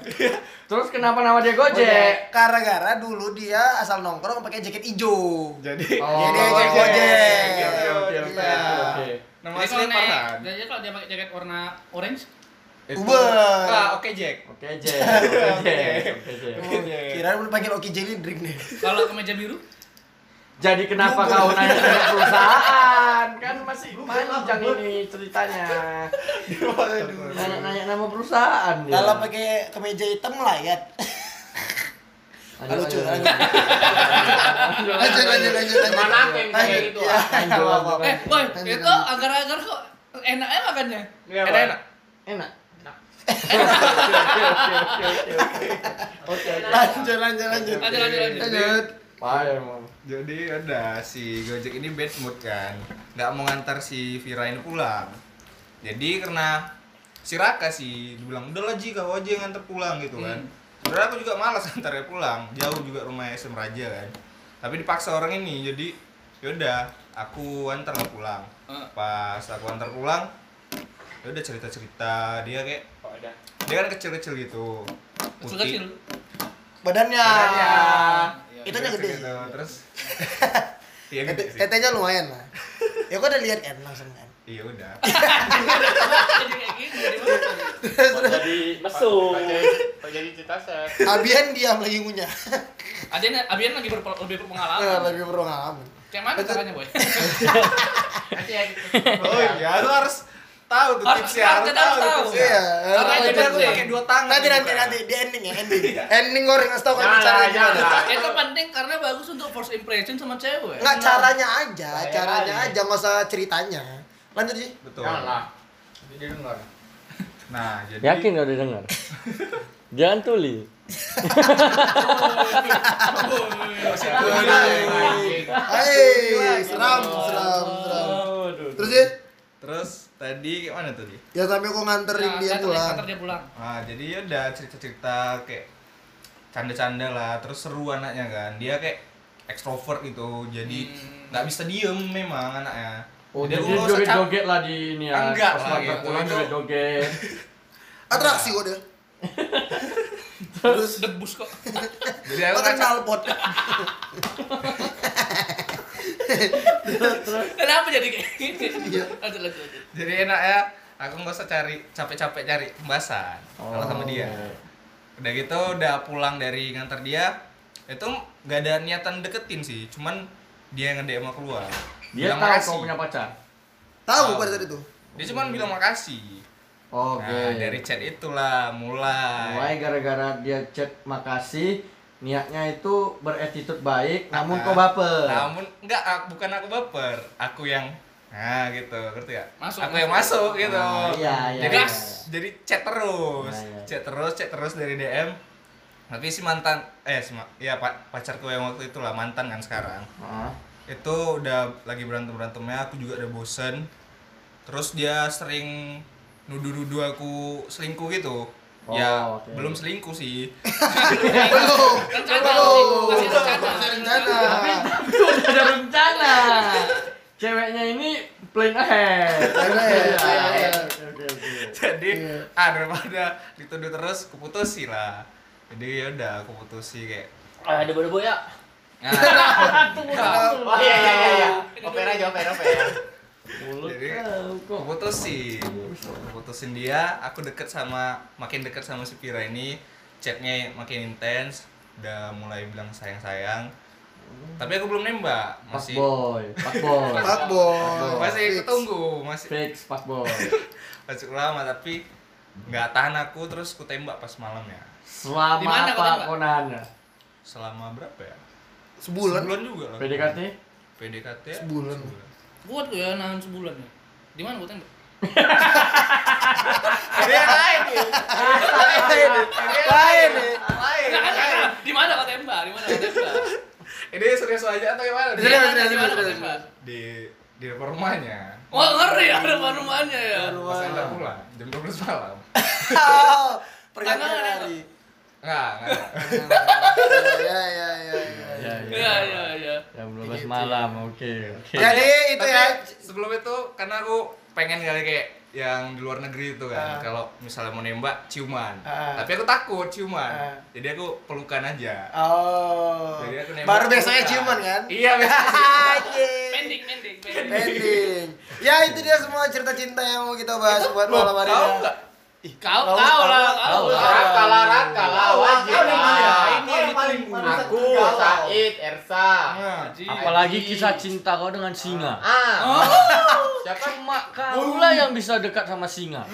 Speaker 7: Terus kenapa nama dia Gojek?
Speaker 3: Gara-gara dulu dia asal nongkrong pakai jaket hijau.
Speaker 5: Jadi
Speaker 7: Oh,
Speaker 3: Jadi ojek
Speaker 7: Gojek.
Speaker 3: Iya, Gojek.
Speaker 7: Oke, oke, oke,
Speaker 3: Iya.
Speaker 7: oke, oke.
Speaker 5: nama
Speaker 9: Jadi
Speaker 5: aslinya
Speaker 9: kalau naik,
Speaker 5: Farhan.
Speaker 9: jadi kalau dia pakai jaket warna orange,
Speaker 5: Itu-
Speaker 3: Uber.
Speaker 5: Ah, oke Jack.
Speaker 7: Oke Jack, oke Jack, oke Jack.
Speaker 3: Kirain mau panggil Oki Jelly drink nih.
Speaker 9: kalau kemeja biru,
Speaker 7: Jadi kenapa kau nanya ke perusahaan? Kan masih panjang ini ceritanya. Nanya-nanya nama perusahaan dia.
Speaker 3: Kalau pakai kemeja hitam ya. layak.
Speaker 7: Lanjut,
Speaker 3: Lucu,
Speaker 7: lanjut,
Speaker 3: lanjut.
Speaker 7: Lanjut,
Speaker 3: Lanjut lanjut lanjut lanjut.
Speaker 6: Mana aku yang kayak
Speaker 3: Lanjut.
Speaker 6: gitu,
Speaker 3: Ya,
Speaker 7: Lanjut,
Speaker 3: nggak apa-apa.
Speaker 7: lanjut.
Speaker 9: eh, woi,
Speaker 3: Lanjut,
Speaker 9: itu
Speaker 3: lanjut.
Speaker 9: agar-agar kok enaknya makannya.
Speaker 5: Enak-enak.
Speaker 7: Enak.
Speaker 3: Lanjut lanjut lanjut.
Speaker 9: Lanjut, lanjut, lanjut.
Speaker 3: Lanjut.
Speaker 7: Wah, emang.
Speaker 5: Jadi udah si Gojek ini bad mood kan. Nggak mau ngantar si Vira ini pulang. Jadi karena si Raka sih dibilang udah lah Ji kau aja yang nganter pulang gitu kan. Sebenarnya aku juga malas ngantarnya pulang. Jauh juga rumahnya SM Raja kan. Tapi dipaksa orang ini jadi yaudah aku antar lah pulang.
Speaker 9: Hmm.
Speaker 5: Pas aku antar pulang yaudah cerita-cerita dia kayak dia kan kecil-kecil gitu.
Speaker 9: Kecil
Speaker 5: Putih.
Speaker 9: kecil.
Speaker 3: Badannya.
Speaker 9: Iya,
Speaker 3: Itunya
Speaker 5: Kecil
Speaker 3: gede.
Speaker 5: gitu. Terus Iya gede
Speaker 3: Tete-
Speaker 5: sih.
Speaker 3: Tetenya lumayan lah. Ya kok udah lihat kan langsung kan.
Speaker 5: Iya udah.
Speaker 9: Jadi kayak gini, jadi apa?
Speaker 7: Jadi
Speaker 5: Oh.
Speaker 7: mesum.
Speaker 6: Kok jadi cerita set.
Speaker 3: Abian diam lagi ngunyah.
Speaker 9: Adian, Adian lagi berpe- lebih
Speaker 3: Nah,
Speaker 9: berpengalaman.
Speaker 3: lebih berpengalaman.
Speaker 9: Kayak mana caranya, Boy?
Speaker 6: Nanti ya gitu.
Speaker 5: Oh iya, lu harus tahu tuh
Speaker 9: Harus
Speaker 5: tipsnya, harus
Speaker 9: tahu, kita harus
Speaker 5: tahu.
Speaker 9: tahu.
Speaker 5: tipsnya.
Speaker 3: Iya.
Speaker 9: Karena
Speaker 5: Kalau
Speaker 9: itu
Speaker 5: jadi aku
Speaker 9: penting.
Speaker 5: pakai dua tangan.
Speaker 3: Nanti nanti
Speaker 5: bukan?
Speaker 3: nanti di ending ya ending. ending goreng ngasih tau
Speaker 6: Jangan,
Speaker 3: kan caranya
Speaker 6: jangan.
Speaker 3: gimana.
Speaker 9: Nah, Itu penting karena bagus untuk first impression sama cewek.
Speaker 3: Enggak caranya aja,
Speaker 6: Bahaya
Speaker 3: caranya
Speaker 6: kali.
Speaker 3: aja nggak usah ceritanya. Lanjut sih.
Speaker 5: Betul.
Speaker 6: Jangan lah. Jadi dengar.
Speaker 5: Nah, jadi
Speaker 7: Yakin gak didengar? Jangan tuli.
Speaker 3: Hai, seram, seram, seram. Terus sih,
Speaker 5: terus tadi gimana tuh dia?
Speaker 3: ya sampai aku
Speaker 9: Nah,
Speaker 3: nganterin dia pulang.
Speaker 9: Antar dia pulang.
Speaker 5: Nah, jadi ya udah cerita-cerita kayak canda-canda lah, terus seru anaknya kan. Dia kayak ekstrovert gitu, jadi nggak bisa diem memang anaknya.
Speaker 6: Oh,
Speaker 5: Jadi
Speaker 6: jadi
Speaker 5: lu nggak usah cap-
Speaker 7: joget-joget lah di ini ya.
Speaker 5: Enggak
Speaker 7: Pas
Speaker 5: lah,
Speaker 7: maghrib
Speaker 5: gitu.
Speaker 7: pulang
Speaker 5: Itu-
Speaker 7: joget-joget.
Speaker 3: Atraksi kok dia.
Speaker 9: Terus debus kok.
Speaker 5: Jadi
Speaker 3: Lo
Speaker 5: aku kan ngacak-
Speaker 3: kenal pot.
Speaker 9: Kenapa jadi kayak gini? Lanjut lanjut. lanjut.
Speaker 5: jadi enak ya. Aku nggak usah cari capek-capek cari pembahasan kalau
Speaker 7: Oh.
Speaker 5: sama dia.
Speaker 7: iya.
Speaker 5: Udah gitu udah pulang dari nganter dia, itu nggak ada niatan deketin sih, cuman dia yang ngedem aku keluar.
Speaker 7: Dia
Speaker 5: Bilang
Speaker 7: tahu
Speaker 5: makasih.
Speaker 7: kau punya pacar.
Speaker 3: Tahu
Speaker 5: Tahu.
Speaker 3: pada saat itu.
Speaker 5: Dia cuman bilang makasih.
Speaker 7: Oke.
Speaker 5: Nah, dari chat itulah mulai.
Speaker 7: Mulai gara-gara dia chat makasih, niatnya itu beretitut baik, namun
Speaker 5: Ah.
Speaker 7: kau baper.
Speaker 5: Namun enggak aku- bukan aku baper, aku yang nah gitu, ngerti ya?
Speaker 9: Masuk,
Speaker 5: aku yang
Speaker 9: masuk.
Speaker 5: masuk gitu.
Speaker 7: Ah, iya, iya,
Speaker 5: jadi
Speaker 7: iya.
Speaker 5: jadi chat terus.
Speaker 7: Iya, iya.
Speaker 5: Chat terus, chat terus dari DM. Tapi si mantan eh si ma- ya pa- pacarku yang waktu itu lah mantan kan sekarang.
Speaker 7: Ah.
Speaker 5: Itu udah lagi berantem-berantemnya, aku juga udah bosen. Terus dia sering nuduh-nuduh aku selingkuh gitu.
Speaker 7: Oh,
Speaker 5: ya
Speaker 7: oke.
Speaker 5: belum selingkuh sih.
Speaker 3: Belum.
Speaker 9: Rencana,
Speaker 3: Belum.
Speaker 9: masih rencana.
Speaker 3: Masih rencana.
Speaker 7: Itu udah ada rencana. Ceweknya ini plan ahead.
Speaker 3: Plan ahead, plan ahead.
Speaker 7: Oke, oke, oke.
Speaker 5: jadi
Speaker 3: Iya.
Speaker 5: ah daripada dituduh terus kuputusi lah jadi ya udah aku putusi kayak
Speaker 6: Ah, debu-debu ya.
Speaker 5: nah,
Speaker 6: Oh iya iya iya iya. Open aja, open open.
Speaker 7: Mulut
Speaker 5: Jadi-
Speaker 7: kau kok.
Speaker 5: kuputusin kuputusin dia aku deket sama makin deket sama si Pira ini chatnya makin intens udah mulai bilang sayang sayang tapi aku belum nembak
Speaker 7: Pak
Speaker 5: masih
Speaker 7: boy, pak boy.
Speaker 3: Pak boy.
Speaker 5: masih aku tunggu masih
Speaker 7: Fix pak boy.
Speaker 5: masih lama tapi nggak tahan aku terus ku tembak pas ya. malamnya
Speaker 9: Di
Speaker 7: Selama
Speaker 9: mana kau
Speaker 7: apa
Speaker 9: tembak?
Speaker 7: Konan?
Speaker 5: selama berapa ya
Speaker 3: Sebulan.
Speaker 5: sebulan juga lah
Speaker 7: PDKT?
Speaker 5: PDKT ya,
Speaker 3: Sebulan.
Speaker 9: Kuat gue ya nahan sebulan ya. Di mana gue tembak?
Speaker 5: ada yang lain nih
Speaker 3: Lain nih.
Speaker 9: Nah, kan, kan, kan. Di mana kau tembak? Di mana kau tembak?
Speaker 5: Ini serius aja atau gimana?
Speaker 9: Di
Speaker 3: Serius,
Speaker 9: mana-
Speaker 3: serius,
Speaker 9: Di mana kau
Speaker 3: serius.
Speaker 9: tembak?
Speaker 5: Di di depan rumahnya.
Speaker 9: Wah ngeri ya depan rumahnya ya.
Speaker 5: Pas anda pulang jam 12 malam.
Speaker 3: Oh, Pergantian
Speaker 9: Tangan,
Speaker 3: hari.
Speaker 5: Enggak, enggak.
Speaker 3: Ya ya ya. ya.
Speaker 7: Ya,
Speaker 9: Iya iya iya.
Speaker 7: Jam 12 malam, oke, oke.
Speaker 3: Jadi itu
Speaker 5: Tapi
Speaker 3: ya.
Speaker 5: sebelum itu karena aku pengen kali kayak yang di luar negeri itu kan
Speaker 3: Ah.
Speaker 5: kalau misalnya mau nembak ciuman.
Speaker 3: Ah.
Speaker 5: Tapi aku takut ciuman.
Speaker 3: Ah.
Speaker 5: Jadi aku pelukan aja.
Speaker 3: Oh.
Speaker 5: Jadi aku nembak
Speaker 3: Baru biasanya
Speaker 5: pelukan.
Speaker 3: ciuman kan?
Speaker 5: Iya, biasanya.
Speaker 3: Anjing.
Speaker 9: Pending pending pending.
Speaker 3: Ending. Ya itu dia semua cerita cinta yang mau kita bahas buat
Speaker 5: Loh,
Speaker 3: malam hari
Speaker 5: tahu
Speaker 3: ini.
Speaker 5: nggak?
Speaker 9: Kau kau lah kau lah.
Speaker 6: Raka lah, Raka lah, wajib
Speaker 5: Tahu di mana?
Speaker 6: lah.
Speaker 5: Ini yang ditunggu.
Speaker 6: Aku, Said, Ersa.
Speaker 5: Nah,
Speaker 7: Apalagi kisah cinta kau dengan singa.
Speaker 6: Ah.
Speaker 7: Oh. Siapa cuma kau lah yang bisa dekat sama singa.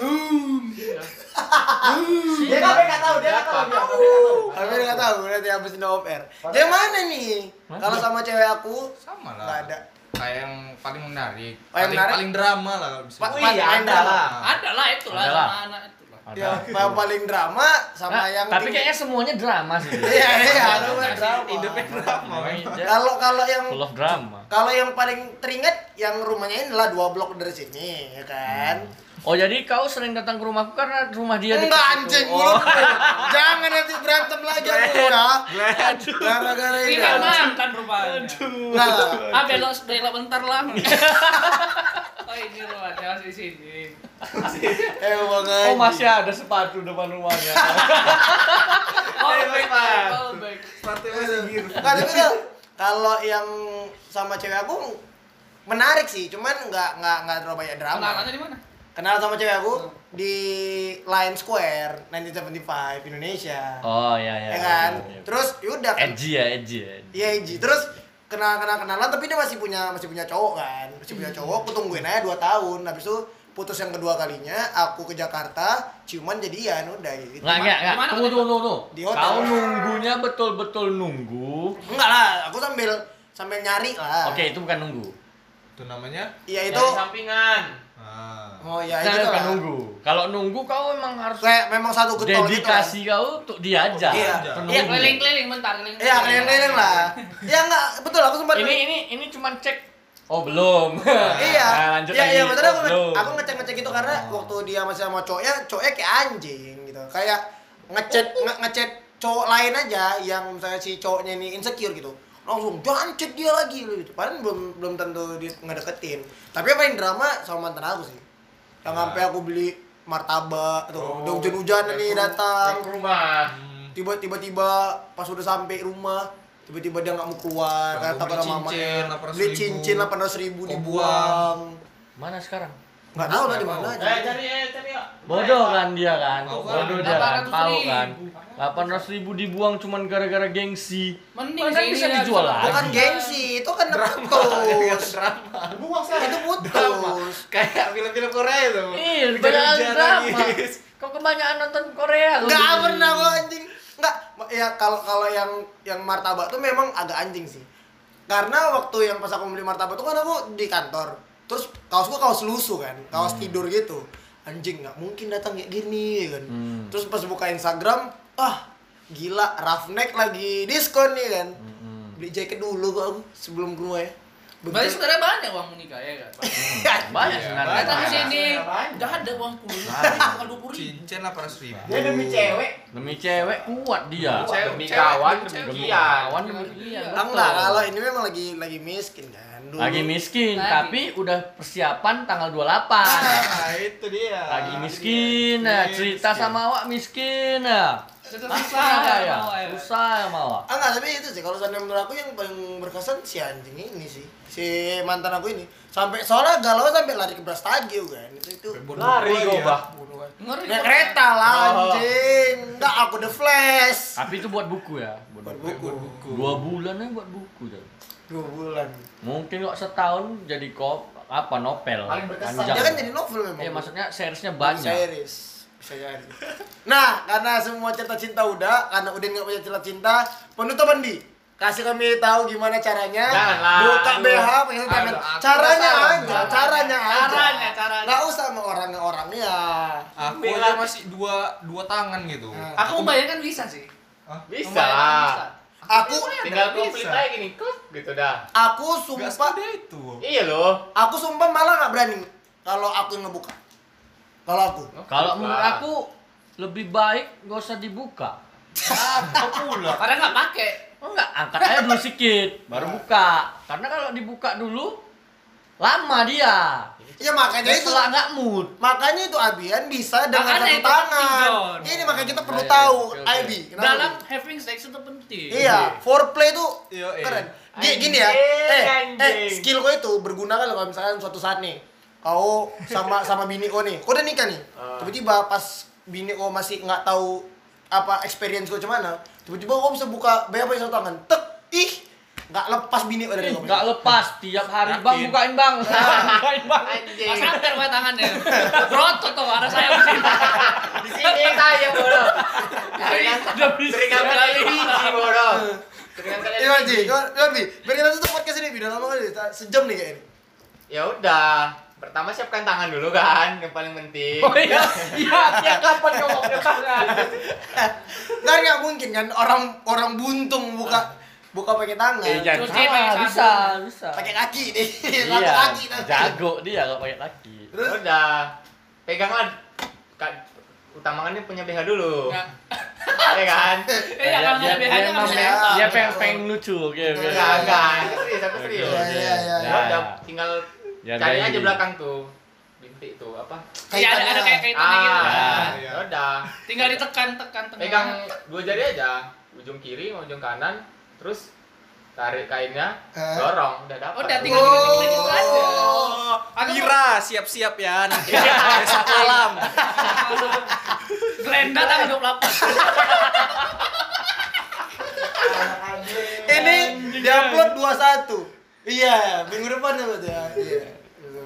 Speaker 8: Dia kan nggak tahu, dia nggak tahu. dia nggak tahu.
Speaker 3: Tapi nggak tahu nanti habis ini off air. Yang mana nih?
Speaker 7: Hah?
Speaker 3: Kalau sama cewek aku,
Speaker 5: sama
Speaker 3: Nggak
Speaker 5: lah.
Speaker 3: ada.
Speaker 5: Kayak yang paling menarik.
Speaker 3: Oh, yang
Speaker 5: paling,
Speaker 3: menarik?
Speaker 5: paling drama lah kalau bisa.
Speaker 3: Pak
Speaker 6: Wih,
Speaker 3: Pak main
Speaker 6: ada
Speaker 3: drama.
Speaker 6: lah.
Speaker 9: Ada lah itu lah
Speaker 7: Ada lah.
Speaker 9: sama anak itu lah.
Speaker 3: Ya,
Speaker 7: Ada.
Speaker 3: yang paling drama sama
Speaker 7: Nah,
Speaker 3: yang
Speaker 7: tapi
Speaker 3: tinggi.
Speaker 7: kayaknya semuanya drama sih.
Speaker 3: Iya iya, itu mah drama.
Speaker 5: Hidupnya drama.
Speaker 3: Kalau kalau yang
Speaker 7: Full of drama.
Speaker 3: kalau yang paling teringat yang rumahnya ini lah dua blok dari sini, ya kan?
Speaker 7: Oh jadi kau sering datang ke rumahku karena rumah
Speaker 5: Iya,
Speaker 7: dia dekat
Speaker 3: Enggak
Speaker 7: situ.
Speaker 3: anjing
Speaker 7: Oh.
Speaker 3: mulut lu. Jangan nanti berantem lagi aku ya. Gara-gara
Speaker 9: Ini
Speaker 3: ini.
Speaker 9: kan mantan rupanya.
Speaker 3: Nah,
Speaker 9: Ah belok belok bentar lah. Oh ini rumahnya masih di sini.
Speaker 3: emang
Speaker 7: Oh
Speaker 3: Eh, anjing.
Speaker 7: masih ada sepatu depan rumahnya.
Speaker 9: Oh baik baik. Oh baik.
Speaker 3: Nah, tapi kalau- kalau yang sama cewek aku menarik sih, cuman nggak nggak nggak terlalu banyak drama.
Speaker 9: Kenalannya di mana?
Speaker 3: Kenal sama cewek aku di Lion Square 1975 Indonesia.
Speaker 7: oh iya iya.
Speaker 3: ya kan?
Speaker 7: iya, iya.
Speaker 3: Terus yaudah kan.
Speaker 7: Edgy ya edgy. ya, edgy.
Speaker 3: Iya Eji. Terus kenal kenal kenalan tapi dia masih punya masih punya cowok kan masih punya cowok aku tungguin aja dua tahun habis itu putus yang kedua kalinya aku ke Jakarta ciuman jadian udah gitu
Speaker 7: Nggak, nggak, nggak.
Speaker 9: Gimana?
Speaker 7: Tunggu, tunggu, tunggu.
Speaker 3: Di
Speaker 7: tunggu.
Speaker 3: hotel.
Speaker 7: Kau nunggunya betul-betul nunggu.
Speaker 3: enggak lah aku sambil sambil nyari lah
Speaker 7: Oke, itu bukan nunggu.
Speaker 3: Nah,
Speaker 5: Itu namanya?
Speaker 3: ya itu
Speaker 6: Dari sampingan.
Speaker 5: Ah.
Speaker 3: oh ya
Speaker 7: Nah,
Speaker 3: itu
Speaker 7: bukan
Speaker 3: lah
Speaker 7: nunggu. Kalau nunggu kau emang harus
Speaker 3: kayak memang satu getol gitu lah.
Speaker 7: dedikasi kau untuk dia aja.
Speaker 3: Iya.
Speaker 7: Penunggu.
Speaker 4: Iya keliling-keliling bentar keliling.
Speaker 3: Iya, keliling-keliling lah. Ya enggak, betul aku sempat
Speaker 7: Ini ini ini cuman cek Oh belum.
Speaker 3: Iya.
Speaker 7: Nah, lanjut
Speaker 3: iya,
Speaker 7: lagi.
Speaker 3: iya, maksudnya aku,
Speaker 7: Oh, belum.
Speaker 3: aku ngecek-ngecek gitu karena waktu dia masih sama cowoknya, cowoknya kayak anjing gitu. Kayak ngechat nge- ngechat cowok lain aja yang misalnya si cowoknya ini insecure gitu. Langsung jangan chat dia lagi gitu. Padahal belum belum tentu dia ngedeketin. Tapi yang paling drama sama mantan aku sih. Yang
Speaker 7: Nah.
Speaker 3: sampai aku beli martabak tuh,
Speaker 7: Oh,
Speaker 3: udah
Speaker 7: ya
Speaker 3: hujan-hujan nih datang.
Speaker 6: Yang ke rumah.
Speaker 3: Hmm. tiba-tiba tiba pas udah sampai rumah tiba-tiba dia nggak mau keluar
Speaker 5: Nggak
Speaker 3: karena
Speaker 5: mau
Speaker 3: takut
Speaker 5: beli
Speaker 3: sama
Speaker 5: cincin,
Speaker 3: mamanya
Speaker 5: 800.000.
Speaker 3: beli cincin delapan ratus ribu
Speaker 5: Kau
Speaker 3: dibuang
Speaker 7: Mana sekarang?
Speaker 3: nggak tahu lah di mana
Speaker 6: Eh cari eh cari. yuk.
Speaker 7: Bodoh kan dia kan,
Speaker 5: Tahu kan?
Speaker 7: bodoh dia kan,
Speaker 4: 800.000.
Speaker 7: tahu kan. 800 ribu dibuang cuman gara-gara gengsi.
Speaker 4: Mending
Speaker 7: Kan
Speaker 4: sih
Speaker 7: bisa
Speaker 4: ini
Speaker 7: dijual
Speaker 4: harus-
Speaker 7: lagi.
Speaker 3: bukan gengsi itu kan putus
Speaker 8: Buang saya.
Speaker 3: itu putus
Speaker 5: Kayak film-film Korea itu.
Speaker 7: Iya,
Speaker 5: Hujan-hujan lagi.
Speaker 7: kebanyakan drama. Kau kebanyakan nonton Korea. lu.
Speaker 3: nggak pernah kok anjing nggak ma- ya kalau kalau yang yang martabak tuh memang agak anjing sih karena waktu yang pas aku beli martabak tuh kan aku di kantor terus kaosku kaos lusuh kan kaos
Speaker 8: Hmm.
Speaker 3: tidur gitu anjing nggak mungkin datang kayak gini ya kan
Speaker 8: Hmm.
Speaker 3: terus pas buka Instagram ah gila roughneck lagi diskon nih kan
Speaker 8: Hmm.
Speaker 3: beli jaket dulu kok aku sebelum ke rumah ya
Speaker 4: Berarti
Speaker 3: Begitu-
Speaker 4: sebenarnya banyak uang menikah ya kan?
Speaker 7: Banyak
Speaker 4: Datang
Speaker 7: sebenarnya.
Speaker 4: ke sini,
Speaker 8: Banyak.
Speaker 4: gak ada uang puluh, bukan dua puluh ribu.
Speaker 5: Cincin 800 ribu.
Speaker 8: Dia demi cewek.
Speaker 7: Demi cewek kuat dia.
Speaker 6: Cewek-
Speaker 7: Demi
Speaker 6: cewek-
Speaker 7: kawan,
Speaker 6: cewek-
Speaker 7: demi
Speaker 6: iya.
Speaker 7: kawan, demi
Speaker 4: Iya.
Speaker 3: Ah, enggak kalau ini memang lagi lagi miskin kan dulu
Speaker 7: lagi miskin
Speaker 4: Lagi.
Speaker 7: tapi udah persiapan tanggal 28.
Speaker 5: Nah, itu dia.
Speaker 7: Lagi miskin, nah, cerita sama awak miskin. Nah. Susah ya, susah ya mawa.
Speaker 3: Ah enggak, tapi itu sih kalau seandainya menurut aku yang paling berkesan si anjing ini sih. Si mantan aku ini. Sampai soalnya galau sampai lari ke beras tagih kan. Itu itu.
Speaker 5: Lari gua, bah.
Speaker 4: Ngeri.
Speaker 3: Naik kereta lah anjing. Enggak aku the flash.
Speaker 7: Tapi itu buat buku ya, buat
Speaker 3: Buat
Speaker 7: buku.
Speaker 3: buku
Speaker 7: Dua bulan aja buat buku tuh.
Speaker 3: dua bulan.
Speaker 7: Mungkin kok setahun jadi kop apa novel
Speaker 8: Paling berkesan.
Speaker 7: panjang.
Speaker 3: Dia kan jadi novel memang.
Speaker 7: Iya maksudnya seriesnya
Speaker 3: Bisa
Speaker 7: banyak.
Speaker 3: iris. Bisa jadi. Nah, karena semua cerita cinta udah, karena Udin nggak punya cerita cinta, penutupan di kasih kami tahu gimana caranya
Speaker 6: Janganlah,
Speaker 3: buka
Speaker 6: aduh.
Speaker 3: BH pakai tangan
Speaker 6: Aduh, aku
Speaker 3: caranya
Speaker 6: penasaran.
Speaker 3: aja caranya aja
Speaker 4: Caranya, caranya.
Speaker 3: nggak usah sama iya. orangnya orangnya
Speaker 5: Aku
Speaker 6: Ambil
Speaker 5: aja
Speaker 6: lah.
Speaker 5: masih dua dua tangan gitu.
Speaker 3: Nah.
Speaker 4: Aku membayangkan bisa sih.
Speaker 6: Bisa.
Speaker 4: Membayangkan bisa.
Speaker 3: aku
Speaker 6: Tinggal komplit
Speaker 5: Bisa.
Speaker 6: aja gini, klik gitu dah.
Speaker 3: aku
Speaker 5: Enggak
Speaker 3: sumpah
Speaker 5: sepeda itu.
Speaker 6: Iya loh.
Speaker 3: aku sumpah malah nggak berani kalau aku yang ngebuka kalau aku
Speaker 7: Kalau menurut aku lebih baik gak usah dibuka.
Speaker 4: Karena nggak pakai.
Speaker 7: Enggak, angkat aja dulu sedikit, baru buka. Karena kalau dibuka dulu lama dia.
Speaker 3: ya makanya itu
Speaker 7: Setelah nggak mood.
Speaker 3: makanya itu Abian bisa
Speaker 4: Makanya
Speaker 3: dengan satu
Speaker 4: itu penting,
Speaker 3: tangan
Speaker 4: Jon.
Speaker 3: ini makanya kita perlu
Speaker 7: Iya,
Speaker 3: tahu
Speaker 7: iya, oke, oke.
Speaker 3: Abi kenapa gitu?
Speaker 4: Dalam
Speaker 3: Abi?
Speaker 4: having sex itu penting.
Speaker 3: iya foreplay tuh
Speaker 5: Yo, eh.
Speaker 3: keren G- gini ya eh, eh skill kau itu berguna kan kalau misalkan suatu saat nih kau sama sama bini kau nih kau udah nikah nih tiba-tiba pas bini kau masih nggak tahu apa experience kau cuman nah, tiba-tiba kau bisa buka bayar pakai satu tangan tek ih nggak lepas bini kau dari kau
Speaker 7: Enggak lepas tiap hari bang bukain bang. bukain bang.
Speaker 4: Mas Amper buat tangannya. Rotot tuh arah saya mesti.
Speaker 6: Di sini ya, saya bodoh.
Speaker 7: Udah bisa.
Speaker 6: Seringan kali ini bodoh. Seringan kali
Speaker 3: Iya, Ji.
Speaker 6: ini.
Speaker 3: Gimana, gimana, Bi? Biar kita tutup podcast ini, Bi. Udah lama kali, ta- sejam nih kayaknya.
Speaker 6: Ya udah. Pertama siapkan tangan dulu kan, yang paling penting. Ya
Speaker 7: Oh iya, iya, tiap kapan kau mau punya tangan?
Speaker 3: Nggak, nggak mungkin kan orang orang buntung buka buka pakai tangan.
Speaker 7: Eh, jangan
Speaker 4: Cuci pakai
Speaker 7: salah,
Speaker 4: sabun.
Speaker 7: bisa, bisa.
Speaker 3: Pakai kaki nih. Satu
Speaker 7: Iya,
Speaker 3: kaki tapi.
Speaker 7: jago dia kalau pakai kaki.
Speaker 6: Ya udah. Peganglah Kak, utamakannya punya BH dulu.
Speaker 4: Ya.
Speaker 6: Iya kan?
Speaker 4: Eh, ya, kalau nggak
Speaker 7: Dia- dia-
Speaker 4: BH-nya
Speaker 7: dia
Speaker 4: nggak
Speaker 7: emang-
Speaker 4: bisa.
Speaker 3: bisa.
Speaker 7: Dia pengen pengen lucu, gitu. oke oke.
Speaker 6: Enggak, enggak. Iya kan? Aku serius, aku serius.
Speaker 3: Iya, iya, iya,
Speaker 6: Ya
Speaker 7: iya.
Speaker 6: udah, tinggal
Speaker 7: Ya,
Speaker 6: cari
Speaker 7: baik.
Speaker 6: aja belakang tuh. Bintik tuh apa?
Speaker 4: Ya,
Speaker 9: Iya,
Speaker 4: ada ada kayak kaitannya gitu.
Speaker 6: Ah,
Speaker 7: Ah,
Speaker 6: ya udah.
Speaker 4: Tinggal ditekan, tekan, tekan.
Speaker 6: Pegang dua jari aja, ujung kiri, ujung kanan, terus tarik kainnya,
Speaker 3: Eh.
Speaker 6: dorong, udah dapat.
Speaker 4: Udah tinggal
Speaker 5: Oh.
Speaker 4: diklik-klik itu aja. Aku
Speaker 5: Ira, siap-siap ya nanti besok malam.
Speaker 4: Glenda tanggal 28.
Speaker 3: Ini Di upload 21. Iya, minggu depan ya Mas ya. Iya.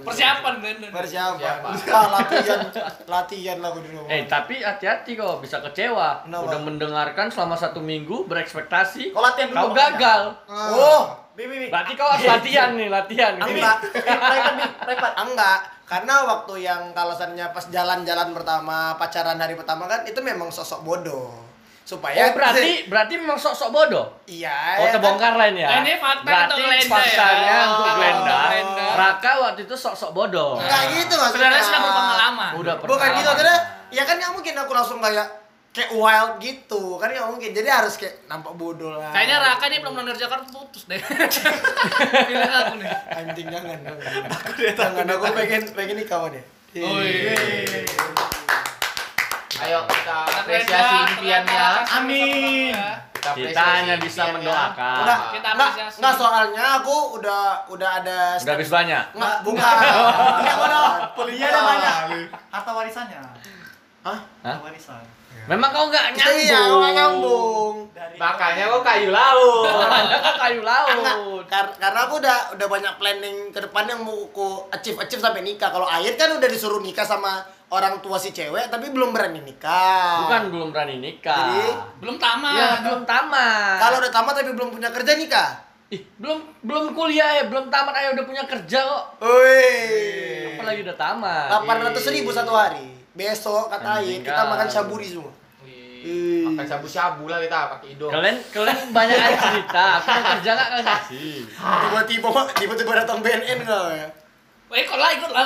Speaker 9: Persiapan kan.
Speaker 3: Persiapan. Nah, latihan latihan lah aku di rumah.
Speaker 7: Eh tapi hati-hati kok bisa kecewa.
Speaker 3: Kenapa?
Speaker 7: Udah mendengarkan selama satu minggu berekspektasi.
Speaker 8: Kau latihan
Speaker 7: Kau
Speaker 8: dulu makanya.
Speaker 7: gagal.
Speaker 3: Oh,
Speaker 8: Bi, bi, bi.
Speaker 7: Berarti kau harus latihan nih, latihan. Ini
Speaker 3: enggak. Eh,
Speaker 8: Private, bi. Private.
Speaker 3: Enggak, karena waktu yang kalau seandainya pas jalan-jalan pertama, pacaran hari pertama kan itu memang sosok bodoh. Supaya
Speaker 7: Oh, berarti berarti memang sok-sok bodoh.
Speaker 3: iya. ya
Speaker 7: Oh,
Speaker 3: kan?
Speaker 7: terbongkar lain ya.
Speaker 9: Nah, ini fakta
Speaker 7: berarti
Speaker 9: untuk Glenda ya.
Speaker 7: faktanya
Speaker 9: Oh,
Speaker 7: untuk
Speaker 9: fakta
Speaker 7: Glenda.
Speaker 9: untuk Glenda.
Speaker 7: Raka waktu itu sok-sok bodoh.
Speaker 3: Enggak gitu maksudnya.
Speaker 9: Sebenarnya sudah berpengalaman.
Speaker 7: Udah pernah.
Speaker 3: Bukan gitu, karena ya kan nggak mungkin aku langsung kayak kayak wild gitu, kan nggak mungkin. Jadi harus kayak nampak bodoh lah.
Speaker 9: Kayaknya Raka nih belum mengerjakan putus deh. Pilihan aku nih.
Speaker 3: Anjing jangan. Aku dia tangan aku pengen pengen nih kawan ya.
Speaker 6: Iya.
Speaker 9: Woi.
Speaker 6: Ayo kita apresiasi impiannya.
Speaker 9: Amin.
Speaker 7: Kita
Speaker 6: Kita apresiasi
Speaker 7: hanya bisa
Speaker 6: impiannya.
Speaker 7: mendoakan.
Speaker 3: Enggak,
Speaker 9: Kita
Speaker 3: enggak,
Speaker 9: apresiasi.
Speaker 3: enggak soalnya aku udah udah ada
Speaker 7: Udah habis banyak.
Speaker 3: Enggak, bukan. Enggak bodoh.
Speaker 8: Belinya ada banyak. Harta warisannya.
Speaker 3: Hah?
Speaker 8: Harta warisan.
Speaker 7: Memang kau nggak nyambung.
Speaker 3: Iya, nggak nyambung.
Speaker 8: Dari
Speaker 6: Makanya kok kayu laut.
Speaker 7: Makanya kau kayu
Speaker 3: Enggak,
Speaker 7: laut.
Speaker 3: kar- karena aku udah udah banyak planning ke depan yang mau aku achieve achieve sampai nikah. Kalau Ayat kan udah disuruh nikah sama orang tua si cewek tapi belum berani nikah.
Speaker 7: Bukan belum berani nikah.
Speaker 3: Jadi,
Speaker 9: Belum tamat.
Speaker 7: ya belum tamat.
Speaker 3: Kalau udah tamat tapi belum punya kerja nikah.
Speaker 7: Ih, belum belum kuliah ya, belum tamat ayo udah punya kerja kok.
Speaker 3: Woi.
Speaker 7: Apalagi udah tamat.
Speaker 3: 800 ribu satu hari. Besok kata Ayat
Speaker 7: Anjing
Speaker 3: kita makan
Speaker 7: kan.
Speaker 3: saburi semua.
Speaker 6: Wih, Makan sabu-sabu lah kita pakai hidung.
Speaker 7: Kalian kalian banyak aja cerita, aku mau kerja nggak kalian kasih.
Speaker 3: Tiba-tiba tiba-tiba datang BNN kau ya.
Speaker 9: Eh, ikut lah, ikut lah.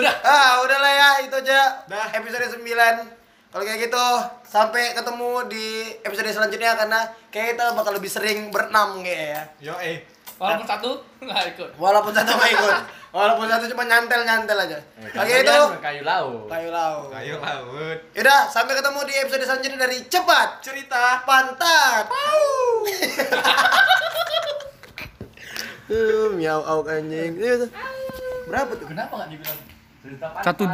Speaker 9: Udah.
Speaker 3: Ah, udah lah ya, itu aja episode 9. Kalau kayak gitu, sampai ketemu di episode selanjutnya karena kayak kita bakal lebih sering berenam kayak ya.
Speaker 5: Yo eh.
Speaker 9: Walaupun satu, nggak ikut.
Speaker 3: Walaupun satu nggak ikut, walaupun satu cuma nyantel-nyantel aja. Oke itu,
Speaker 7: Kalian kayu laut.
Speaker 3: kayu lau.
Speaker 5: Kayu laut.
Speaker 3: Yaudah, sampai ketemu di episode selanjutnya dari Cepat Cerita Pantat. Eh, miau au anjing. Berapa tuh?
Speaker 7: Kenapa nggak dibilang cerita
Speaker 2: Satu